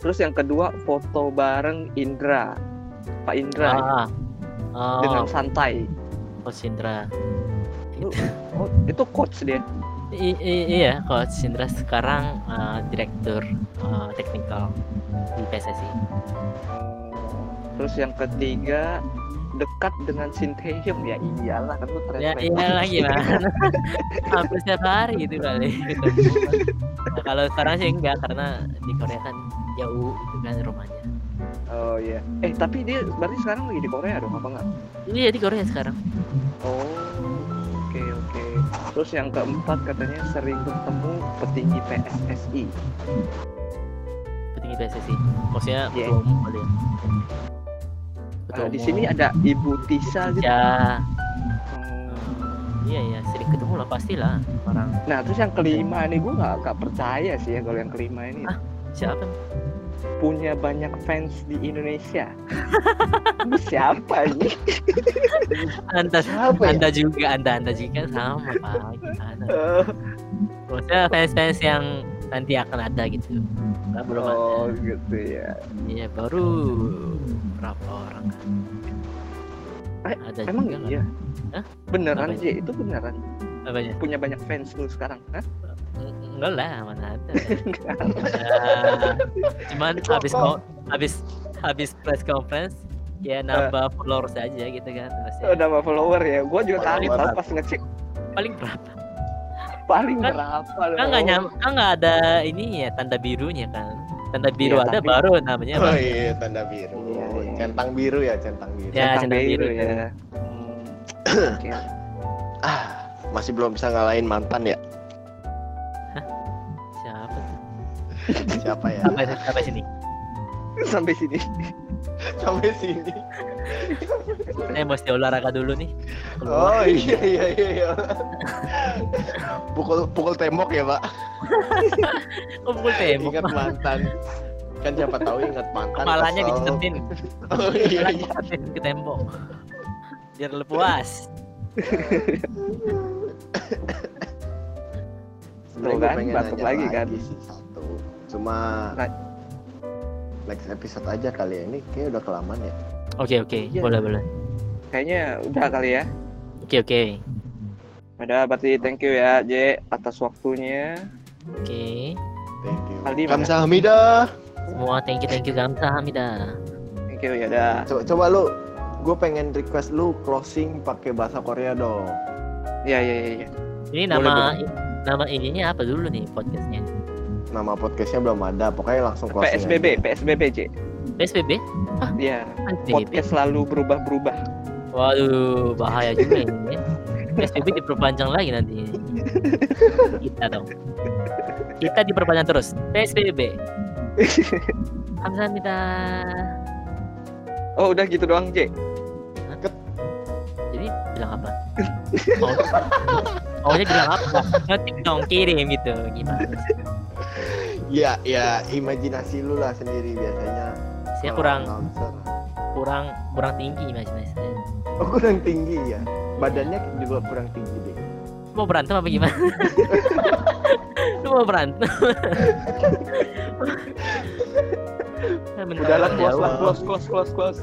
S1: Terus yang kedua foto bareng Indra, Pak Indra
S3: ah. Oh,
S1: dengan santai.
S3: Coach Indra.
S1: Oh, itu coach dia.
S3: I- i- iya, Coach Indra sekarang eh, direktur eh, teknikal di PSSI.
S1: Terus yang ketiga dekat dengan Sinteyong ya iyalah kan lu
S3: Ya
S1: translator.
S3: iya lagi lah. Hampir setiap hari gitu kali. ketemu. Nah, kalau sekarang sih enggak karena di Korea kan jauh gitu kan rumahnya.
S1: Oh iya. Eh tapi dia berarti sekarang lagi di Korea dong apa enggak?
S3: Iya di Korea sekarang.
S1: Oh. Oke oke. Terus yang keempat katanya sering bertemu petinggi PSSI.
S3: Petinggi PSSI. Maksudnya
S1: Iya.
S3: ketua umum kali ya. Ketua
S1: Eh, di
S3: umum.
S1: sini ada Ibu Tisa gitu.
S3: ya.
S1: Hmm.
S3: Iya ya, sering ketemu lah pastilah orang
S1: Nah terus yang kelima nih gue nggak nggak percaya sih ya kalau yang kelima ini
S3: Ah. siapa
S1: punya banyak fans di Indonesia. Lu siapa ini?
S3: Anda
S2: Siapa ya?
S3: Anda juga, Anda Anda juga sama Pak. Gimana?
S1: Eh,
S3: Maksudnya fans-fans yang nanti akan ada gitu. Nah, belum ada.
S1: oh gitu ya.
S3: Iya baru berapa orang kan?
S1: Eh,
S3: ada
S1: Emang
S3: juga
S1: iya.
S3: Hah?
S1: Beneran
S3: Apa
S1: sih itu beneran
S3: nggak? apa ya?
S1: punya banyak fans lu sekarang? Hah?
S3: Eng- Enggak lah, mana ada. Ya, cuman habis ko- habis habis press conference ya nambah followers aja gitu kan. Maksudnya,
S1: Udah sama follower ya. Gue juga kaget
S2: Follower.
S1: tau pas ngecek
S3: paling berapa?
S1: paling
S3: Kan-
S1: berapa
S3: Kan nggak nyam, kan nggak ada ini ya tanda birunya kan. Tanda biru
S1: Iya,
S3: ada
S1: tapi-
S3: baru namanya.
S2: Oh
S3: apa?
S2: iya tanda biru.
S1: Iya, iya.
S2: Centang biru ya centang biru.
S3: Ya.
S1: Ya,
S3: centang biru.
S1: biru ya. Hmm. Oke.
S2: Ah, masih belum bisa ngalahin mantan ya?
S3: Siapa? tuh?
S2: Siapa ya?
S3: Siapa, siapa sini?
S1: sampai sini.
S2: sampai sini
S3: Saya mesti olahraga dulu nih. Keluar.
S2: oh iya iya iya iya. pukul pukul tembok ya pak
S3: Oh, pukul tembok.
S2: ingat mantan kan siapa tahu ingat mantan
S3: Kepalanya
S2: kesel.
S3: dicetetin.
S2: oh iya
S3: Kepalanya
S2: iya
S3: dicetetin ke tembok. Biar lu puas.
S2: Sebenarnya
S1: Tuh
S2: gua
S1: kan,
S2: pengen
S1: batuk
S2: nanya
S1: lagi kan.
S2: sih, satu. Cuma
S1: Nah.
S2: next episode aja kali ya ini kayak udah kelamaan ya.
S3: Oke, oke.
S1: Iya.
S3: Boleh, boleh.
S1: Kayaknya udah kali ya.
S3: Oke, oke.
S1: Udah berarti thank you ya J atas waktunya.
S3: Oke.
S2: Thank you.
S1: Aldi mana?
S2: Kamsahamnida.
S3: Semua thank you, thank you. Gamsahamnida.
S1: Thank you ya dah.
S2: Co- coba lu gue pengen request lu closing pakai bahasa Korea dong.
S1: Ya ya ya. ya.
S3: Ini nama nama ininya apa dulu nih podcastnya?
S2: Nama podcastnya belum ada, pokoknya langsung closing.
S1: PSBB,
S2: aja.
S1: PSBB J.
S3: PSBB?
S1: Ya,
S3: PSBB.
S1: podcast selalu berubah-berubah.
S3: Waduh, bahaya juga ini. ya. PSBB diperpanjang lagi nanti. Kita dong. Kita diperpanjang terus. PSBB. Kamsahamnida.
S1: Oh, udah gitu doang J.
S3: Jadi bilang apa? Mau maunya bilang apa? Ngetik dong kirim gitu gimana?
S2: Ya ya imajinasi lu lah sendiri biasanya.
S3: Saya
S2: Kalau
S3: kurang
S2: announcer.
S3: kurang kurang tinggi imajinasi saya.
S2: Oh kurang tinggi ya. Badannya juga kurang tinggi deh.
S3: Lu mau berantem apa gimana? Lu mau berantem? Bentar,
S2: Udahlah,
S3: ya,
S2: puas lah.
S1: Close, close, close, close.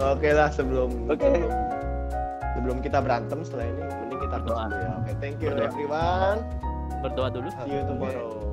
S2: Oke lah sebelum
S1: Oke.
S2: sebelum, sebelum kita berantem setelah ini mending kita close
S3: Berdoa.
S2: dulu ya. Oke, thank you
S3: Berdoa.
S2: everyone.
S3: Berdoa dulu.
S2: See you tomorrow.